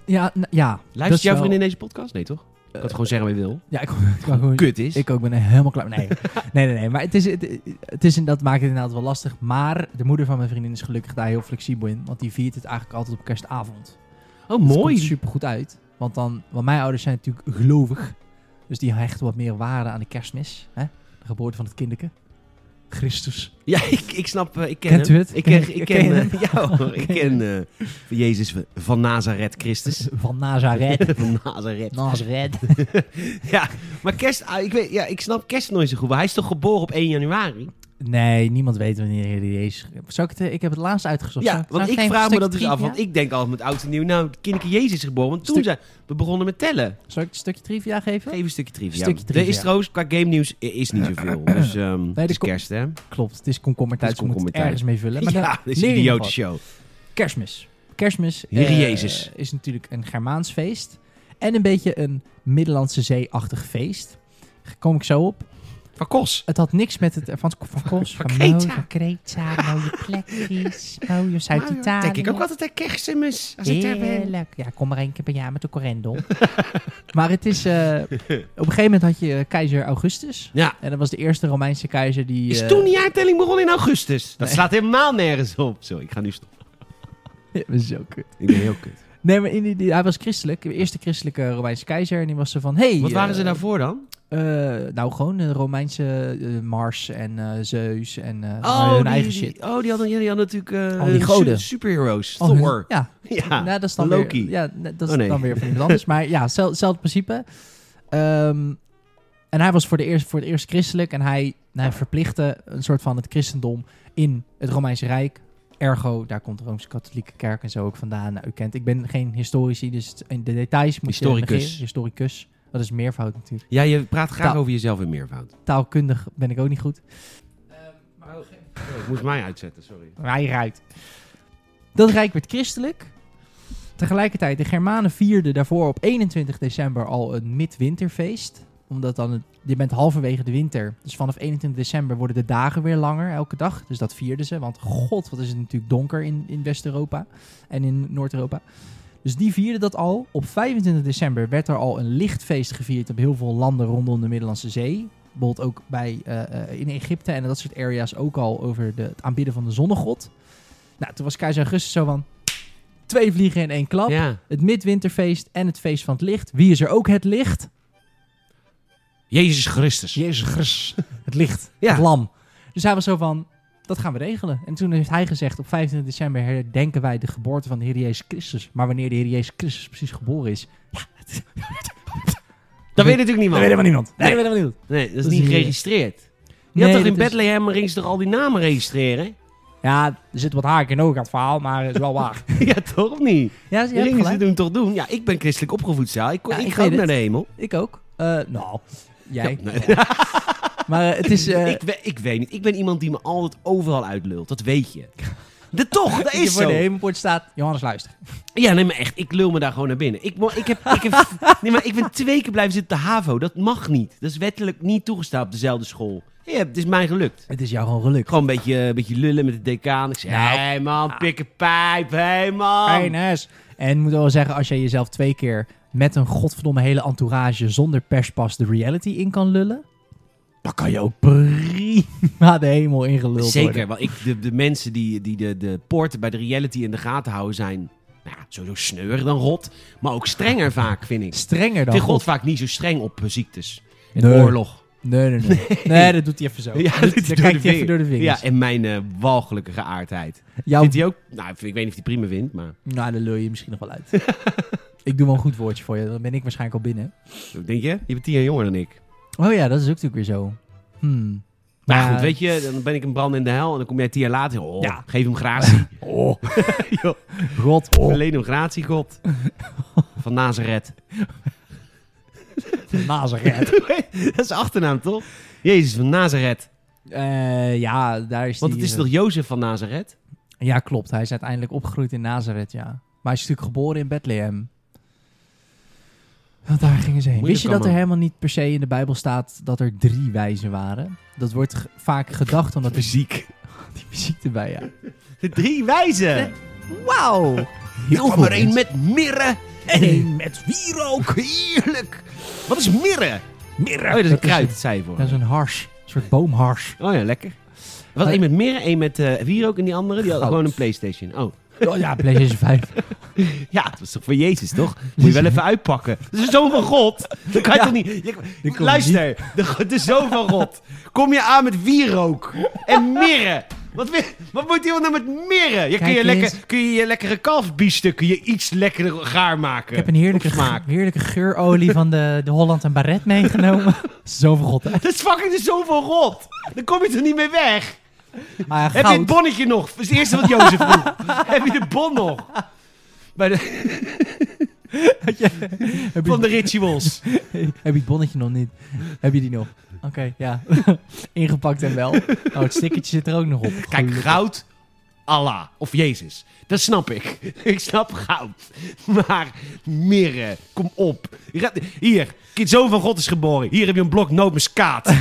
Speaker 2: Ja, n- ja. dat
Speaker 1: Luistert
Speaker 2: is
Speaker 1: jouw
Speaker 2: wel-
Speaker 1: vriendin deze podcast? Nee, toch? Ik kan het gewoon zeggen wat je wil.
Speaker 2: Ja, ik, ik, kan gewoon-
Speaker 1: Kut is.
Speaker 2: ik ook ben er helemaal klaar mee. Nee, nee, nee. nee. Maar het is, het, het is, en dat maakt het inderdaad wel lastig. Maar de moeder van mijn vriendin is gelukkig daar heel flexibel in. Want die viert het eigenlijk altijd op kerstavond.
Speaker 1: oh,
Speaker 2: Dus Het
Speaker 1: mooi.
Speaker 2: komt supergoed uit. Want dan, want mijn ouders zijn natuurlijk gelovig. Dus die hechten wat meer waarde aan de kerstmis. Hè? De geboorte van het kinderke. Christus.
Speaker 1: Ja, ik, ik snap, eh, ik ken
Speaker 2: Kent
Speaker 1: hem.
Speaker 2: u het?
Speaker 1: Ik ken,
Speaker 2: Ken-
Speaker 1: ik
Speaker 2: ken
Speaker 1: ken,
Speaker 2: je
Speaker 1: eh, ja hoor, ik ken eh, Jezus van Nazareth Christus.
Speaker 2: Van Nazareth.
Speaker 1: van Nazareth.
Speaker 2: Nazareth.
Speaker 1: Ja, maar kerst, ah, ik, weet, ja, ik snap kerst nooit zo goed. Maar hij is toch geboren op 1 januari?
Speaker 2: Nee, niemand weet wanneer die is. Zou ik, het, eh, ik heb het laatst uitgezocht.
Speaker 1: Ja,
Speaker 2: Zou- zou
Speaker 1: want ik
Speaker 2: geen
Speaker 1: vraag me
Speaker 2: stuk
Speaker 1: dat dus
Speaker 2: drie-
Speaker 1: af.
Speaker 2: ja?
Speaker 1: Want ik denk altijd met oud en nieuw, nou, het kindje Jezus is geboren. Want toen
Speaker 2: Stuk-
Speaker 1: zijn we begonnen met tellen.
Speaker 2: Zou ik een stukje trivia geven?
Speaker 1: Geef een stukje trivia.
Speaker 2: Stukje trivia.
Speaker 1: Er is trouwens, qua game nieuws eh, is niet zoveel. Dus ehm het is
Speaker 2: kom-
Speaker 1: kerst, hè?
Speaker 2: Klopt, het is komkommertijd.
Speaker 1: Het
Speaker 2: Het
Speaker 1: is
Speaker 2: moet het
Speaker 1: komkommertijd.
Speaker 2: ergens mee vullen. Maar
Speaker 1: ja,
Speaker 2: dan
Speaker 1: dit is
Speaker 2: leer
Speaker 1: een
Speaker 2: je nog
Speaker 1: idiote
Speaker 2: wat.
Speaker 1: show.
Speaker 2: Kerstmis. Kerstmis
Speaker 1: Hier
Speaker 2: eh,
Speaker 1: Jezus.
Speaker 2: is natuurlijk een Germaans feest. En een beetje een Middellandse Zee-achtig feest. Kom ik zo op.
Speaker 1: Van Kos.
Speaker 2: Het had niks met het... eh, Van, van Kos, van,
Speaker 1: Kreta.
Speaker 2: Mooi, van Kreta, mooie plekjes, mooie
Speaker 1: Nou,
Speaker 2: Zuid-Italië.
Speaker 1: Denk ik ook altijd aan kerstmis. Als ik daar ben.
Speaker 2: Heerlijk. Ja, kom maar één keer per jaar met de correndon. maar het is... eh, op een gegeven moment had je eh, keizer Augustus.
Speaker 1: Ja.
Speaker 2: En dat was de eerste Romeinse keizer die...
Speaker 1: Is
Speaker 2: eh,
Speaker 1: toen die jaartelling begonnen in augustus? Dat
Speaker 2: Nee.
Speaker 1: slaat helemaal nergens op. Zo, ik ga nu stoppen.
Speaker 2: Ja, dat is zo kut.
Speaker 1: Ik ben heel kut.
Speaker 2: Nee, maar in die, die- hij was christelijk. De eerste christelijke Romeinse keizer. En die was er van... Hey,
Speaker 1: Wat waren
Speaker 2: eh,
Speaker 1: ze nou daarvoor dan?
Speaker 2: eh, nou, gewoon de Romeinse eh, Mars en eh, Zeus en eh,
Speaker 1: Oh,
Speaker 2: hun
Speaker 1: die,
Speaker 2: eigen
Speaker 1: die-
Speaker 2: shit.
Speaker 1: Oh, die hadden, ja, die hadden natuurlijk... eh
Speaker 2: Al die
Speaker 1: su-
Speaker 2: goden.
Speaker 1: Superheroes.
Speaker 2: Oh, hun-
Speaker 1: Thor.
Speaker 2: ja,
Speaker 1: Ja,
Speaker 2: nou, dat is dan
Speaker 1: Ah, Loki.
Speaker 2: Weer, ja, n- dat is
Speaker 1: Oh, nee.
Speaker 2: dan weer van iemand anders. maar ja, zel- hetzelfde principe. Ehm, en hij was voor, de eerst, voor het eerst christelijk. En hij, hij verplichtte een soort van het christendom in het Romeinse Rijk. Ergo, daar komt de Rooms-Katholieke Kerk en zo ook vandaan. Nou, u kent, ik ben geen historici, dus het- in de details moet
Speaker 1: Historicus.
Speaker 2: je negeren. Historicus. Dat is meervoud natuurlijk
Speaker 1: Ja, je praat graag
Speaker 2: Nou.
Speaker 1: over jezelf in meervoud.
Speaker 2: taalkundig ben ik ook niet goed.
Speaker 1: Oh, ik moest mij uitzetten, sorry.
Speaker 2: Hij ruikt. Dat rijk werd christelijk. Tegelijkertijd, de Germanen vierden daarvoor op 21 december al een midwinterfeest. Omdat dan, het, je bent halverwege de winter. Dus vanaf 21 december worden de dagen weer langer elke dag. Dus dat vierden ze. Want god, wat is het natuurlijk donker in, in West-Europa en in Noord-Europa. Dus die vierden dat al. Op 25 december werd er al een lichtfeest gevierd op heel veel landen rondom de Middellandse Zee. Bijvoorbeeld ook bij, eh, eh, in Egypte en dat soort areas ook al over de, het aanbidden van de zonnegod. Nou, toen was keizer Augustus zo van... Twee vliegen in één klap.
Speaker 1: Ja.
Speaker 2: Het midwinterfeest en het feest van het licht. Wie is er ook het licht?
Speaker 1: Jezus Christus.
Speaker 2: Jezus Christus. Het licht.
Speaker 1: Ja.
Speaker 2: Het lam. Dus hij was zo van, dat gaan we regelen. En toen heeft hij gezegd, op 25 december herdenken wij de geboorte van de Heer Jezus Christus. Maar wanneer de Heer Jezus Christus precies geboren is...
Speaker 1: Dat weet natuurlijk niemand.
Speaker 2: helemaal niemand. Nee,
Speaker 1: Nee.
Speaker 2: dat weet helemaal niemand.
Speaker 1: Nee, dat is
Speaker 2: Dat
Speaker 1: niet
Speaker 2: is niet-
Speaker 1: geregistreerd. Je
Speaker 2: Nee,
Speaker 1: had toch
Speaker 2: dat
Speaker 1: in
Speaker 2: is-
Speaker 1: Bethlehem rings toch al die namen registreren?
Speaker 2: Ja, er zit wat haak in ook aan het verhaal, maar het is wel waar.
Speaker 1: ja, toch of niet?
Speaker 2: ja, je hebt
Speaker 1: Ringen ze
Speaker 2: gelijk.
Speaker 1: doen toch doen? Ja, ik ben christelijk opgevoed, Saal. Ik,
Speaker 2: Ja,
Speaker 1: ik,
Speaker 2: ik
Speaker 1: ga
Speaker 2: weet
Speaker 1: ook naar
Speaker 2: het.
Speaker 1: de hemel.
Speaker 2: Ik ook. Eh, nou, jij.
Speaker 1: nee.
Speaker 2: Maar eh, het is... eh,
Speaker 1: ik, we- ik weet niet. Ik ben iemand die me altijd overal uitlult. Dat weet je. De toch, dat
Speaker 2: je
Speaker 1: is
Speaker 2: voor de
Speaker 1: zo.
Speaker 2: hemelpoort staat, Johannes luister.
Speaker 1: Ja, nee, maar echt. Ik lul me daar gewoon naar binnen. Ik, mo- ik, heb, ik, heb, nee, maar ik ben twee keer blijven zitten op de HAVO. Dat mag niet. Dat is wettelijk niet toegestaan op dezelfde school. Ja, het is mij gelukt.
Speaker 2: Het is jou gewoon geluk.
Speaker 1: Gewoon een beetje, een beetje lullen met de decaan. Ik zeg,
Speaker 2: Nou.
Speaker 1: hey man, pik een pijp. hey man.
Speaker 2: Fijnes. En ik moet wel zeggen, als jij jezelf twee keer met een godverdomme hele entourage zonder perspas de reality in kan lullen, dan kan je ook prima de hemel ingeluld
Speaker 1: Zeker,
Speaker 2: worden.
Speaker 1: want ik, de, de mensen die, die de, de poorten bij de reality in de gaten houden zijn... Nou ja, sowieso sneuwer dan rot. Maar ook strenger vaak, vind ik.
Speaker 2: Strenger
Speaker 1: Ik
Speaker 2: dan
Speaker 1: vind God
Speaker 2: God.
Speaker 1: vaak niet zo streng op eh, ziektes. En
Speaker 2: Nee.
Speaker 1: oorlog.
Speaker 2: Nee, nee, nee. Nee, dat doet hij even zo.
Speaker 1: Ja,
Speaker 2: Dat-
Speaker 1: dit is door
Speaker 2: dan kijkt
Speaker 1: de
Speaker 2: hij even
Speaker 1: vinger.
Speaker 2: door de vingers.
Speaker 1: Ja, en mijn eh walgelijke geaardheid.
Speaker 2: Jouw...
Speaker 1: Vindt hij ook? Nou, ik weet niet of hij prima vindt, maar
Speaker 2: Nou, dan lul je misschien nog wel uit. ik doe wel een goed woordje voor je, dan ben ik waarschijnlijk al binnen.
Speaker 1: denk je? Je bent tien jaar jonger dan ik.
Speaker 2: Oh ja, dat is ook natuurlijk weer zo. Hmm.
Speaker 1: Maar
Speaker 2: Ja.
Speaker 1: goed, weet je, dan ben ik een brand in de hel en dan kom jij tien jaar later. Oh,
Speaker 2: Ja.
Speaker 1: geef hem gratie.
Speaker 2: Oh,
Speaker 1: Joh,
Speaker 2: God. Oh.
Speaker 1: Verleen hem gratie, God. Van Nazareth.
Speaker 2: Nazareth.
Speaker 1: dat is achternaam, toch? Jezus van Nazareth.
Speaker 2: Eh, ja, daar is
Speaker 1: Want
Speaker 2: die,
Speaker 1: het is
Speaker 2: eh,
Speaker 1: toch Jozef van Nazareth?
Speaker 2: Ja, klopt. Hij is uiteindelijk opgegroeid in Nazareth, ja. Maar hij is natuurlijk geboren in Bethlehem. Want daar gingen ze heen.
Speaker 1: Moeilijk
Speaker 2: Wist je dat er
Speaker 1: allemaal.
Speaker 2: helemaal niet per se in de Bijbel staat dat er drie wijzen waren? Dat wordt ge- vaak gedacht omdat er
Speaker 1: Fysiek.
Speaker 2: die muziek erbij, ja.
Speaker 1: De drie wijzen.
Speaker 2: Wauw!
Speaker 1: Ik
Speaker 2: Heel
Speaker 1: kwam
Speaker 2: veel
Speaker 1: er één
Speaker 2: mensen.
Speaker 1: met mirre en één met wierook. Heerlijk. Wat is mirre?
Speaker 2: Mirre.
Speaker 1: Oh, dat is een
Speaker 2: Dat is
Speaker 1: kruid,
Speaker 2: een-
Speaker 1: zei je voor.
Speaker 2: Dat is een hars. Een soort boomhars.
Speaker 1: Oh ja, lekker. Er was
Speaker 2: Maar-
Speaker 1: één met mirre, één met eh, wierook en die andere, die had
Speaker 2: Goud.
Speaker 1: gewoon een Playstation. Oh.
Speaker 2: Oh ja, PlayStation 5.
Speaker 1: Ja, dat was toch voor Jezus, toch? Moet je wel even uitpakken. Dat is de zoon van God. Dan kan je
Speaker 2: Ja.
Speaker 1: toch niet... je-
Speaker 2: niet.
Speaker 1: luister, de, go- de zoon van God. Kom je aan met wierook en mirre. Wat, wil- wat moet iemand nou met mirre? Je, kun,
Speaker 2: Kijk
Speaker 1: je
Speaker 2: eens.
Speaker 1: lekker, kun je je lekkere kalfbiefstuk kun je iets lekkerder gaar maken.
Speaker 2: Ik heb een heerlijke,
Speaker 1: Op smaak.
Speaker 2: ge- heerlijke geurolie van de, de Holland en Barret meegenomen. Zo van god. hè?
Speaker 1: Dat is fucking de zoon van God. Dan kom je er niet meer weg.
Speaker 2: Ah, ja,
Speaker 1: Heb je het
Speaker 2: goud.
Speaker 1: bonnetje nog? Dat is het eerste wat Jozef vroeg. Heb je de bon nog? Bij de,
Speaker 2: Had je- heb, je,
Speaker 1: van de rituals.
Speaker 2: heb je het bonnetje nog niet? Heb je die nog? Oké, ja. Ingepakt en wel. Oh, het stickertje zit er ook nog op.
Speaker 1: Kijk,
Speaker 2: Gelukkig.
Speaker 1: goud, Allah of Jezus. Dat snap ik. Ik snap goud. Maar mirre, kom op. Je gaat- Hier, kind zoon van God is geboren. Hier heb je een blok nootmuskaat.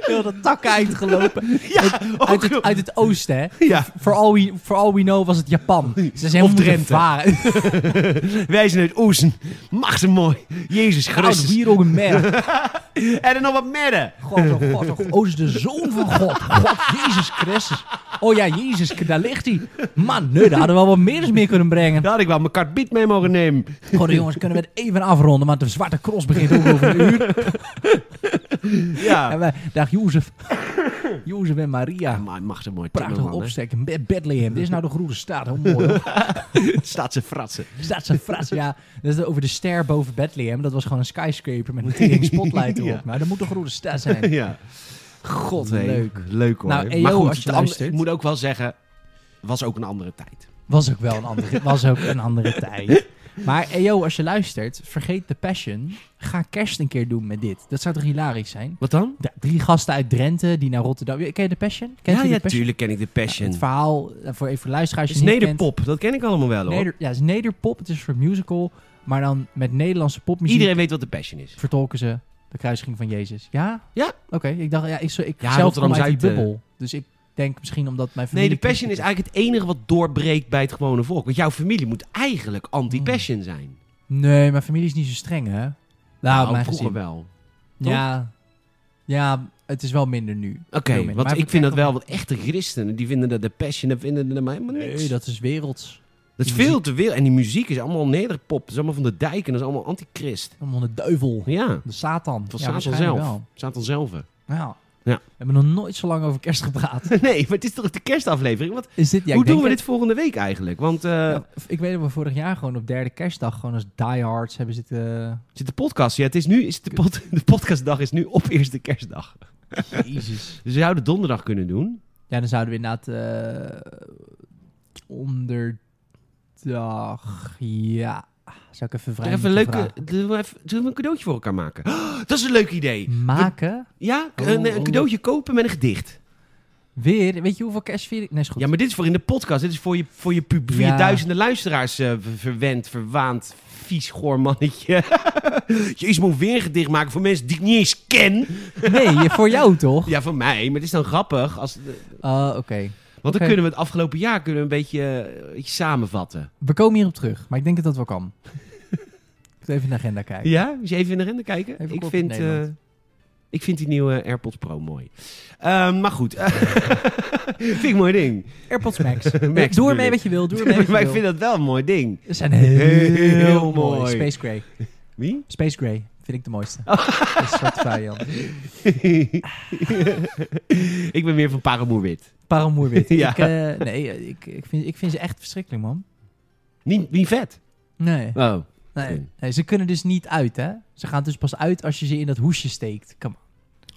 Speaker 2: Heel dat takken uitgelopen.
Speaker 1: Ja,
Speaker 2: Uit
Speaker 1: ook.
Speaker 2: het, uit het oosten, hè?
Speaker 1: Ja,
Speaker 2: For all, we, for all we know was het Japan. Ze zijn
Speaker 1: Of
Speaker 2: helemaal
Speaker 1: Drenthe.
Speaker 2: moeten varen.
Speaker 1: wij zijn uit Oezen. Mag ze mooi. Jezus
Speaker 2: Goud,
Speaker 1: Christus.
Speaker 2: hier ook een merk.
Speaker 1: En dan nog wat merren.
Speaker 2: God, oh God, oh God. Oh, is de zoon van God. God, Jezus Christus. Oh ja, Jezus, daar ligt hij. Man, nee, daar hadden we wel wat meer eens mee kunnen brengen.
Speaker 1: Daar had ik wel mijn kart biet mee mogen nemen.
Speaker 2: Goh, jongens, kunnen we het even afronden, want de Zwarte Cross begint ook over een uur. En
Speaker 1: Ja.
Speaker 2: wij, dag Jozef. Jozef en Maria.
Speaker 1: Maar mag ze mooi.
Speaker 2: Prachtig
Speaker 1: timmerman, hè.
Speaker 2: opsteken. Be- Bethlehem, dit is nou de groene staat. Hoe mooi. hoor.
Speaker 1: Staat ze fratsen.
Speaker 2: Staat zijn frats. Ja, dat is over de ster boven Bethlehem. Dat was gewoon een skyscraper met een tering spotlight erop.
Speaker 1: Ja.
Speaker 2: Maar dat moet de groene staat zijn.
Speaker 1: Ja. God, hé.
Speaker 2: Leuk.
Speaker 1: Leuk hoor.
Speaker 2: Nou, en
Speaker 1: maar
Speaker 2: Jo,
Speaker 1: goed,
Speaker 2: als je
Speaker 1: het andere-
Speaker 2: luistert.
Speaker 1: ik moet ook wel zeggen, was ook een andere tijd.
Speaker 2: Was ook wel een andere, was ook een andere tijd. Maar eh, yo, als je luistert, vergeet de passion. Ga kerst een keer doen met dit. Dat zou toch hilarisch zijn?
Speaker 1: Wat dan?
Speaker 2: Ja, drie gasten uit Drenthe die naar Rotterdam... Ken je de passion? Kent
Speaker 1: ja,
Speaker 2: je
Speaker 1: ja,
Speaker 2: de passion?
Speaker 1: tuurlijk ken ik de Passion. Dus
Speaker 2: Het verhaal, eh, voor even luisteraars...
Speaker 1: is
Speaker 2: die het niet kent.
Speaker 1: Nederpop, dat ken ik allemaal wel hoor.
Speaker 2: Neder, ja, het is Nederpop. Het is een soort musical, maar dan met Nederlandse popmuziek.
Speaker 1: Iedereen weet wat de Passion is.
Speaker 2: vertolken ze de kruisiging van Jezus. Ja?
Speaker 1: Ja.
Speaker 2: Oké, ik dacht, ja, ik, zo- ik
Speaker 1: Ja,
Speaker 2: zelf kom
Speaker 1: Rotterdam
Speaker 2: uit die
Speaker 1: Zuid, eh,
Speaker 2: bubbel. Dus ik denk misschien omdat mijn
Speaker 1: Nee,
Speaker 2: familie...
Speaker 1: de Passion is eigenlijk het enige wat doorbreekt bij het gewone volk. Want jouw familie moet eigenlijk anti-Passion zijn.
Speaker 2: Nee, mijn familie is niet zo streng, hè? Mm. Nou,
Speaker 1: Nou,
Speaker 2: mijn
Speaker 1: vroeger
Speaker 2: gezin.
Speaker 1: wel. toch?
Speaker 2: Ja. Ja, het is wel minder nu.
Speaker 1: Oké,
Speaker 2: Veel minder.
Speaker 1: want
Speaker 2: Maar
Speaker 1: ik vind dat
Speaker 2: vertel-
Speaker 1: wel, want echte christenen, die vinden dat de Passion, dat vinden dat maar helemaal niks.
Speaker 2: Nee, dat is werelds.
Speaker 1: dat is
Speaker 2: die
Speaker 1: veel te veel. En die muziek is allemaal nederpop. Dat is allemaal van de dijk en dat is allemaal antichrist.
Speaker 2: Allemaal de duivel.
Speaker 1: Ja,
Speaker 2: De Satan.
Speaker 1: Van
Speaker 2: ja,
Speaker 1: Satan
Speaker 2: waarschijnlijk
Speaker 1: zelf.
Speaker 2: wel.
Speaker 1: Satan zelf. hè.
Speaker 2: Ja.
Speaker 1: Ja.
Speaker 2: We hebben nog nooit zo lang over kerst gepraat.
Speaker 1: Nee, maar het is toch de kerstaflevering? Want,
Speaker 2: Is dit, ja,
Speaker 1: hoe
Speaker 2: ik denk
Speaker 1: doen we
Speaker 2: het-
Speaker 1: dit volgende week eigenlijk? Want eh,
Speaker 2: Ja, ik weet dat we vorig jaar gewoon op derde kerstdag gewoon als diehards hebben zitten...
Speaker 1: zit de podcast, ja, het is nu, is de, pod, de podcastdag is nu op eerste kerstdag.
Speaker 2: Jezus.
Speaker 1: Dus we zouden donderdag kunnen doen.
Speaker 2: Ja, dan zouden we inderdaad eh onderdag. Ja. Zou ik even vrij
Speaker 1: Even een
Speaker 2: moeten
Speaker 1: leuke, zullen we even- zullen we een cadeautje voor elkaar maken? Oh, dat is een leuk idee.
Speaker 2: vragen. maken.
Speaker 1: Ja, k-
Speaker 2: Oh,
Speaker 1: een, eh, een
Speaker 2: oh.
Speaker 1: cadeautje kopen met een gedicht.
Speaker 2: Weer. Weet je hoeveel kerstviering? Nee, is goed.
Speaker 1: Ja, maar dit is voor in de podcast. Dit is voor je, voor je, pub, voor je
Speaker 2: Ja.
Speaker 1: duizenden luisteraars eh, ver- verwend, verwaand, vies goor mannetje. Jezus, moet weer een gedicht maken voor mensen die ik niet eens ken.
Speaker 2: Nee, voor jou toch?
Speaker 1: Ja, van mij, maar het is dan grappig. Als,
Speaker 2: Ah, Oké.
Speaker 1: want dan
Speaker 2: Oké.
Speaker 1: kunnen we het afgelopen jaar kunnen we een beetje, eh, iets samenvatten.
Speaker 2: We komen hierop terug, maar ik denk dat dat wel kan. ik moet even in de agenda kijken.
Speaker 1: Ja, moet je even in de rende kijken?
Speaker 2: Even
Speaker 1: ik,
Speaker 2: kort
Speaker 1: vind,
Speaker 2: op Nederland.
Speaker 1: eh, ik vind die nieuwe AirPods Pro mooi. Ehm, maar goed, vind ik een mooi ding.
Speaker 2: AirPods Max.
Speaker 1: eh, Max
Speaker 2: doe
Speaker 1: bedoel
Speaker 2: ermee
Speaker 1: ik.
Speaker 2: wat je wil. Doe ermee wat je
Speaker 1: maar ik
Speaker 2: wil.
Speaker 1: vind dat wel een mooi ding.
Speaker 2: Ze zijn heel,
Speaker 1: Heel
Speaker 2: mooi.
Speaker 1: mooi.
Speaker 2: Space Gray.
Speaker 1: Wie?
Speaker 2: Space Gray vind ik de mooiste. Dat is een soort variant.
Speaker 1: ik ben meer van Paramoerwit.
Speaker 2: Paramoerwit.
Speaker 1: Ja.
Speaker 2: Ik, eh, nee, eh, ik, ik, vind, ik vind ze echt verschrikkelijk, man.
Speaker 1: Niet, niet vet.
Speaker 2: Nee.
Speaker 1: Oh.
Speaker 2: Nee.
Speaker 1: Oké.
Speaker 2: nee, ze kunnen dus niet uit, hè? Ze gaan dus pas uit als je ze in dat hoesje steekt. Come on.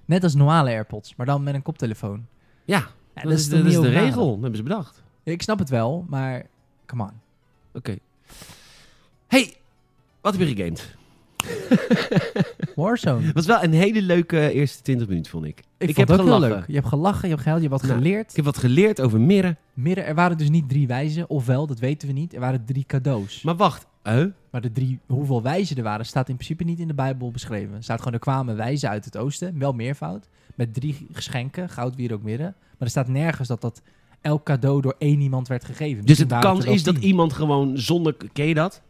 Speaker 2: Net als normale AirPods, maar dan met een koptelefoon.
Speaker 1: Ja,
Speaker 2: Ja,
Speaker 1: dat, is de,
Speaker 2: toch
Speaker 1: dat is
Speaker 2: niet
Speaker 1: de
Speaker 2: overraden?
Speaker 1: regel. Dat hebben ze bedacht.
Speaker 2: Ja, Ik snap het wel, maar come on.
Speaker 1: Oké. Hey, wat heb je gegamed?
Speaker 2: Warzone.
Speaker 1: Het was wel een hele leuke eerste 20 minuten, vond ik.
Speaker 2: Ik, vond
Speaker 1: heb
Speaker 2: het ook
Speaker 1: gelachen.
Speaker 2: heel leuk. Je hebt gelachen, je hebt gehuild, je hebt wat
Speaker 1: Ja.
Speaker 2: geleerd.
Speaker 1: Ik heb wat geleerd over mirren.
Speaker 2: Midden, er waren dus niet drie wijzen, ofwel, dat weten we niet. Er waren drie cadeaus.
Speaker 1: Maar wacht. Huh?
Speaker 2: Maar de drie, hoeveel wijzen er waren, staat in principe niet in de Bijbel beschreven. Er staat gewoon, er kwamen wijzen uit het oosten, wel meervoud, met drie geschenken, goud, wierook, midden. Maar er staat nergens dat dat elk cadeau door één iemand werd gegeven.
Speaker 1: Dus
Speaker 2: Misschien
Speaker 1: het
Speaker 2: waren
Speaker 1: kans
Speaker 2: er wel
Speaker 1: is dat
Speaker 2: tien.
Speaker 1: iemand gewoon zonder... Ken je dat?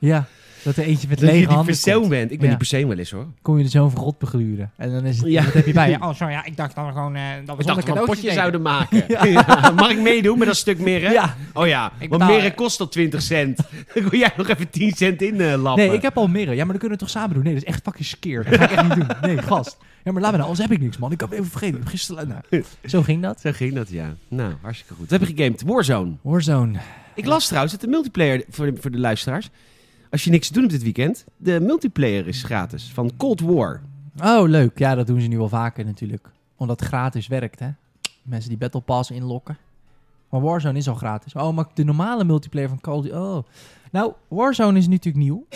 Speaker 2: Ja, dat er eentje
Speaker 1: Dat
Speaker 2: met
Speaker 1: je
Speaker 2: lege
Speaker 1: die
Speaker 2: handen
Speaker 1: persoon
Speaker 2: komt.
Speaker 1: bent. Ik ben
Speaker 2: Ja.
Speaker 1: die persoon wel eens hoor.
Speaker 2: Kom je de zoon van God begluren. En dan is het,
Speaker 1: Ja.
Speaker 2: wat heb je bij je?
Speaker 3: Oh, sorry, ja, ik dacht dan gewoon eh, dat we
Speaker 1: Hm. Ik dacht
Speaker 3: zonder
Speaker 1: dat we een potje
Speaker 3: cadeautjes deden.
Speaker 1: zouden maken. Ja. Mag ik meedoen met dat stuk mirren?
Speaker 2: Ja.
Speaker 1: Oh ja, want
Speaker 3: betaal-
Speaker 1: mirren kost al 20 cent. Dan wil jij nog even 10 cent in eh, lappen.
Speaker 2: Nee, ik heb al mirren. Ja, maar dan kunnen we het toch samen doen? Nee, dat is echt fucking skeer. Dat ga ik echt niet doen. Nee, gast. Ja, maar laat me nou. Anders heb ik niks, man. Ik heb even vergeten. Ik heb gisteren... Nou, zo ging dat.
Speaker 1: Zo ging dat, ja. Nou, hartstikke goed. We hebben gegamed. Warzone.
Speaker 2: Warzone.
Speaker 1: Ik las trouwens dat de multiplayer, voor de, voor de luisteraars, als je niks te doen hebt dit weekend, de multiplayer is gratis van Cold War.
Speaker 2: Oh, leuk. Ja, dat doen ze nu wel vaker natuurlijk. Omdat het gratis werkt, hè. Mensen die Battle Pass inlokken. Maar Warzone is al gratis. Oh, maar de normale multiplayer van Call of Duty... Oh. Nou, Warzone is nu natuurlijk nieuw.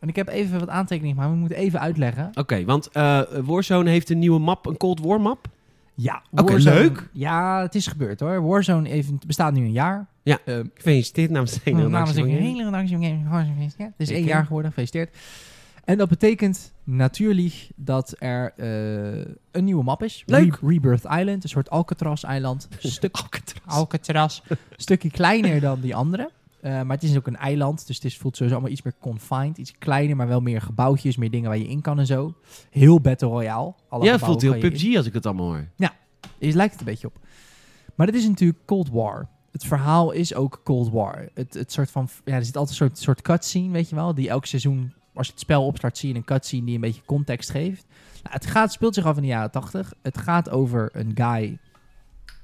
Speaker 2: En ik heb even wat aantekeningen gemaakt. maar We moeten even uitleggen.
Speaker 1: Oké, want eh, Warzone heeft een nieuwe map, een Cold War map.
Speaker 2: Ja,
Speaker 1: Oké,
Speaker 2: Warzone-
Speaker 1: leuk.
Speaker 2: Ja, het is gebeurd hoor. Warzone heeft, bestaat nu een jaar.
Speaker 1: Ja.
Speaker 2: Ehm,
Speaker 1: Gefeliciteerd namens de nou, hele
Speaker 2: Hm, namens
Speaker 1: redactie
Speaker 2: een
Speaker 1: van jullie.
Speaker 2: hele redactie van Games Warzone geweest, ja. Het is één
Speaker 1: Zeker.
Speaker 2: jaar geworden, gefeliciteerd. En dat betekent natuurlijk dat er eh, een nieuwe map is.
Speaker 1: Leuk.
Speaker 2: Re- Rebirth Island, een soort Alcatraz-eiland. Stuk
Speaker 1: oh,
Speaker 2: Alcatraz. Een stukje kleiner dan die andere. Eh, maar het is ook een eiland, dus het is, voelt sowieso allemaal iets meer confined. Iets kleiner, maar wel meer gebouwtjes, meer dingen waar je in kan en zo. Heel Battle Royale. Alle
Speaker 1: Ja,
Speaker 2: gebouwen
Speaker 1: voelt
Speaker 2: kan
Speaker 1: heel
Speaker 2: je in.
Speaker 1: PUBG als ik het allemaal hoor.
Speaker 2: Is, lijkt het een beetje op. Maar dit is natuurlijk Cold War. Het verhaal is ook Cold War. Het, het soort van, ja, er zit altijd een soort, soort cutscene, weet je wel, die elk seizoen, als je het spel opstart, zie je een cutscene die een beetje context geeft. Nou, het, gaat, het speelt zich af in de jaren 80. Het gaat over een guy,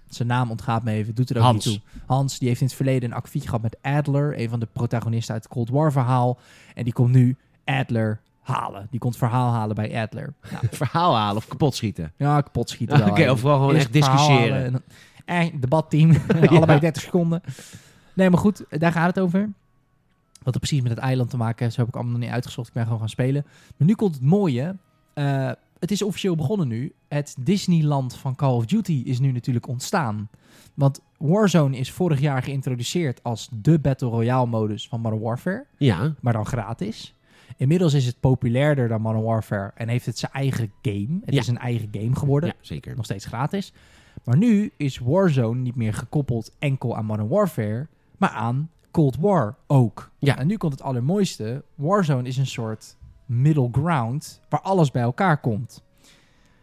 Speaker 2: zijn naam ontgaat me even, doet er ook
Speaker 1: Hans.
Speaker 2: niet toe. Hans, die heeft in het verleden een akkefietje gehad met Adler, een van de protagonisten uit het Cold War verhaal. En die komt nu Adler halen. Die komt verhaal halen bij Adler. Nou,
Speaker 1: Verhaal halen of kapot schieten.
Speaker 2: ja, kapot schieten.
Speaker 1: Oké,
Speaker 2: wel even.
Speaker 1: of vooral gewoon
Speaker 2: Eerst
Speaker 1: echt
Speaker 2: het verhaal
Speaker 1: discussiëren.
Speaker 2: halen En, en debatteam. Allebei 30 seconden. Nee, maar goed, daar gaat het over. Wat er precies met het eiland te maken heeft, zo heb ik allemaal nog niet uitgezocht. Ik ben gewoon gaan spelen. Maar nu komt het mooie. Eh, het is officieel begonnen nu. Het Disneyland van Call of Duty is nu natuurlijk ontstaan. Want Warzone is vorig jaar geïntroduceerd als de Battle Royale modus van Modern Warfare
Speaker 1: Ja.
Speaker 2: maar dan gratis. Inmiddels is het populairder dan Modern Warfare en heeft het zijn eigen game. Het
Speaker 1: Ja.
Speaker 2: is een eigen game geworden,
Speaker 1: ja, zeker.
Speaker 2: nog steeds gratis. Maar nu is Warzone niet meer gekoppeld enkel aan Modern Warfare, maar aan Cold War ook.
Speaker 1: Ja.
Speaker 2: En nu komt het allermooiste. Warzone is een soort middle ground waar alles bij elkaar komt.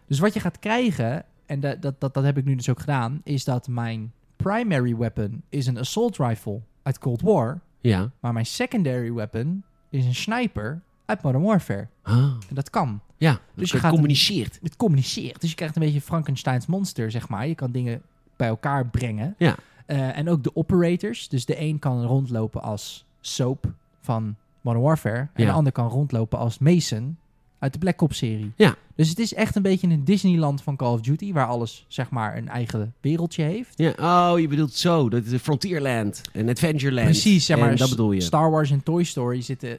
Speaker 2: Dus wat je gaat krijgen, en dat, dat, dat, dat heb ik nu dus ook gedaan, is dat mijn primary weapon is een assault rifle uit Cold War.
Speaker 1: Ja.
Speaker 2: Maar mijn secondary weapon is een sniper uit Modern Warfare.
Speaker 1: Ah,
Speaker 2: En dat kan.
Speaker 1: ja,
Speaker 2: Dus
Speaker 1: dus
Speaker 2: je
Speaker 1: je
Speaker 2: gaat-
Speaker 1: communiceert.
Speaker 2: Het communiceert. Dus je krijgt een beetje Frankensteins monster, zeg maar. Je kan dingen bij elkaar brengen.
Speaker 1: Ja.
Speaker 2: Eh, en ook de operators. Dus de een kan rondlopen als Soap van Modern Warfare. En
Speaker 1: Ja.
Speaker 2: de ander kan rondlopen als Mason uit de Black Ops serie.
Speaker 1: Ja.
Speaker 2: Dus het is echt een beetje een Disneyland van Call of Duty. Waar alles, zeg maar, een eigen wereldje heeft.
Speaker 1: Ja, oh, je bedoelt zo. Dat is Frontierland en Adventureland.
Speaker 2: Precies, zeg maar.
Speaker 1: En dat
Speaker 2: S-
Speaker 1: bedoel je.
Speaker 2: Star Wars en Toy Story zitten.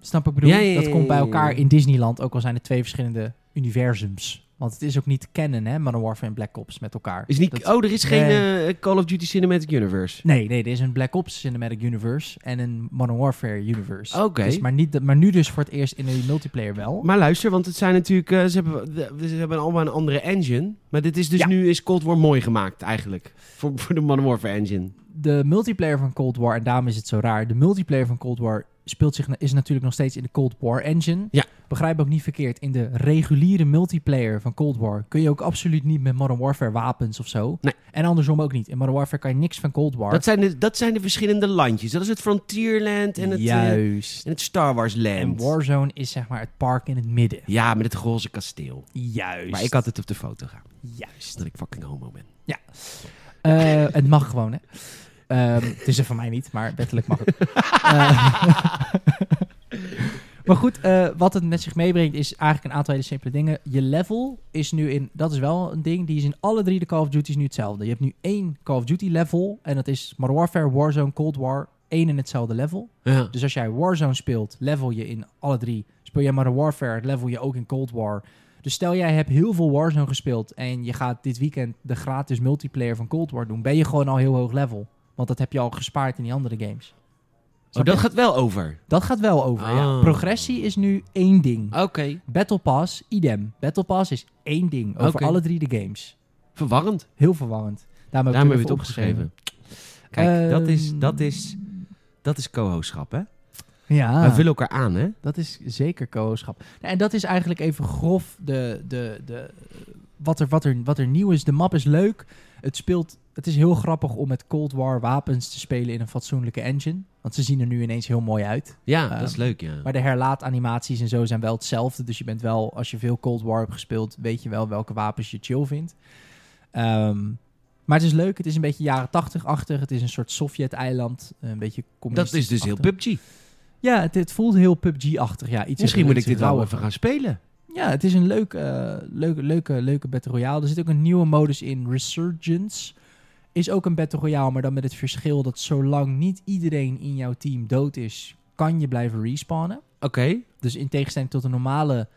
Speaker 2: Snap ik bedoel?
Speaker 1: Ja, ja, ja,
Speaker 2: dat komt bij
Speaker 1: ja,
Speaker 2: elkaar
Speaker 1: ja.
Speaker 2: in Disneyland, ook al zijn het twee verschillende universums. Want het is ook niet te kennen, hè, Modern Warfare en Black Ops met elkaar.
Speaker 1: Is niet,
Speaker 2: Dat-
Speaker 1: oh, er is geen
Speaker 2: Nee.
Speaker 1: eh, Call of Duty Cinematic Universe.
Speaker 2: Nee, nee, er is een Black Ops Cinematic Universe en een Modern Warfare Universe.
Speaker 1: Oké.
Speaker 2: Dus, maar, niet, dat- maar nu dus voor het eerst in de multiplayer wel.
Speaker 1: Maar luister, want het zijn natuurlijk... eh, ze, hebben, de- ze hebben allemaal een andere engine. Maar dit is dus
Speaker 2: Ja.
Speaker 1: nu is Cold War mooi gemaakt eigenlijk. Voor, voor de Modern Warfare engine.
Speaker 2: de multiplayer van Cold War, en daarom is het zo raar. De multiplayer van Cold War speelt zich, is natuurlijk nog steeds in de Cold War engine.
Speaker 1: Ja.
Speaker 2: Begrijp ook niet verkeerd. In de reguliere multiplayer van Cold War kun je ook absoluut niet met Modern Warfare wapens of zo.
Speaker 1: Nee.
Speaker 2: En andersom ook niet. In Modern Warfare kan je niks van Cold War.
Speaker 1: Dat zijn, de, dat zijn de verschillende landjes. Dat is het Frontierland en het, eh,
Speaker 2: Juist.
Speaker 1: en het Star Wars
Speaker 2: en
Speaker 1: Land.
Speaker 2: Warzone is zeg maar het park in het midden.
Speaker 1: Ja, met het roze kasteel.
Speaker 2: Juist.
Speaker 1: Maar ik had het op de foto gaan.
Speaker 2: Juist.
Speaker 1: Dat ik fucking homo ben.
Speaker 2: Eh, het mag gewoon, hè? Ehm, het is er van mij niet, maar wettelijk mag het. Eh, maar goed, eh, wat het met zich meebrengt is eigenlijk een aantal hele simpele dingen. Je level is nu in, dat is wel een ding, die is in alle drie de Call of Duty's nu hetzelfde. Je hebt nu één Call of Duty level en dat is Modern Warfare, Warzone, Cold War, één en hetzelfde level.
Speaker 1: Ja.
Speaker 2: Dus als jij Warzone speelt, level je in alle drie. Speel jij Modern Warfare, level je ook in Cold War. Dus stel jij hebt heel veel Warzone gespeeld en je gaat dit weekend de gratis multiplayer van Cold War doen, ben je gewoon al heel hoog level. Want dat heb je al gespaard in die andere games.
Speaker 1: Oh,
Speaker 2: Snap
Speaker 1: dat
Speaker 2: je?
Speaker 1: gaat wel over.
Speaker 2: dat gaat wel over. Ja.
Speaker 1: Ah.
Speaker 2: Progressie is nu één ding.
Speaker 1: Oké.
Speaker 2: Battle Pass, idem. Battle Pass is één ding over
Speaker 1: Oké.
Speaker 2: alle drie de games.
Speaker 1: Verwarrend.
Speaker 2: Heel verwarrend. Daarom
Speaker 1: Daarom
Speaker 2: heb Ehm.
Speaker 1: hebben
Speaker 2: ik
Speaker 1: we het opgeschreven. Kijk, dat is, dat is, dat is co-hoostschap, hè?
Speaker 2: Ah. Ja.
Speaker 1: We vullen elkaar aan, hè?
Speaker 2: Dat is zeker co-schap. Nou, en dat is eigenlijk even grof de, de, de, eh, wat, er, wat, er, wat er nieuw is. De map is leuk. Het, speelt, het is heel grappig om met Cold War wapens te spelen in een fatsoenlijke engine. Want ze zien er nu ineens heel mooi uit.
Speaker 1: Ja,
Speaker 2: Ehm,
Speaker 1: dat is leuk, ja.
Speaker 2: Maar de herlaatanimaties en zo zijn wel hetzelfde. Dus je bent wel, als je veel Cold War hebt gespeeld, weet je wel welke wapens je chill vindt. Ehm, maar het is leuk. Het is een beetje jaren tachtig-achtig. Het is een soort Sovjet-eiland. Een beetje
Speaker 1: Dat is dus heel
Speaker 2: communistisch-achtig.
Speaker 1: PUBG.
Speaker 2: Ja, het, het voelt heel PUBG-achtig. Ja, iets
Speaker 1: Misschien moet ik
Speaker 2: iets
Speaker 1: dit wel
Speaker 2: rauwer.
Speaker 1: even gaan spelen.
Speaker 2: Ja, het is een leuke, eh, leuke, leuke, leuke Battle Royale. Er zit ook een nieuwe modus in, Resurgence. Is ook een Battle Royale, maar dan met het verschil dat zolang niet iedereen in jouw team dood is, kan je blijven respawnen.
Speaker 1: Oké.
Speaker 2: Dus in tegenstelling tot een normale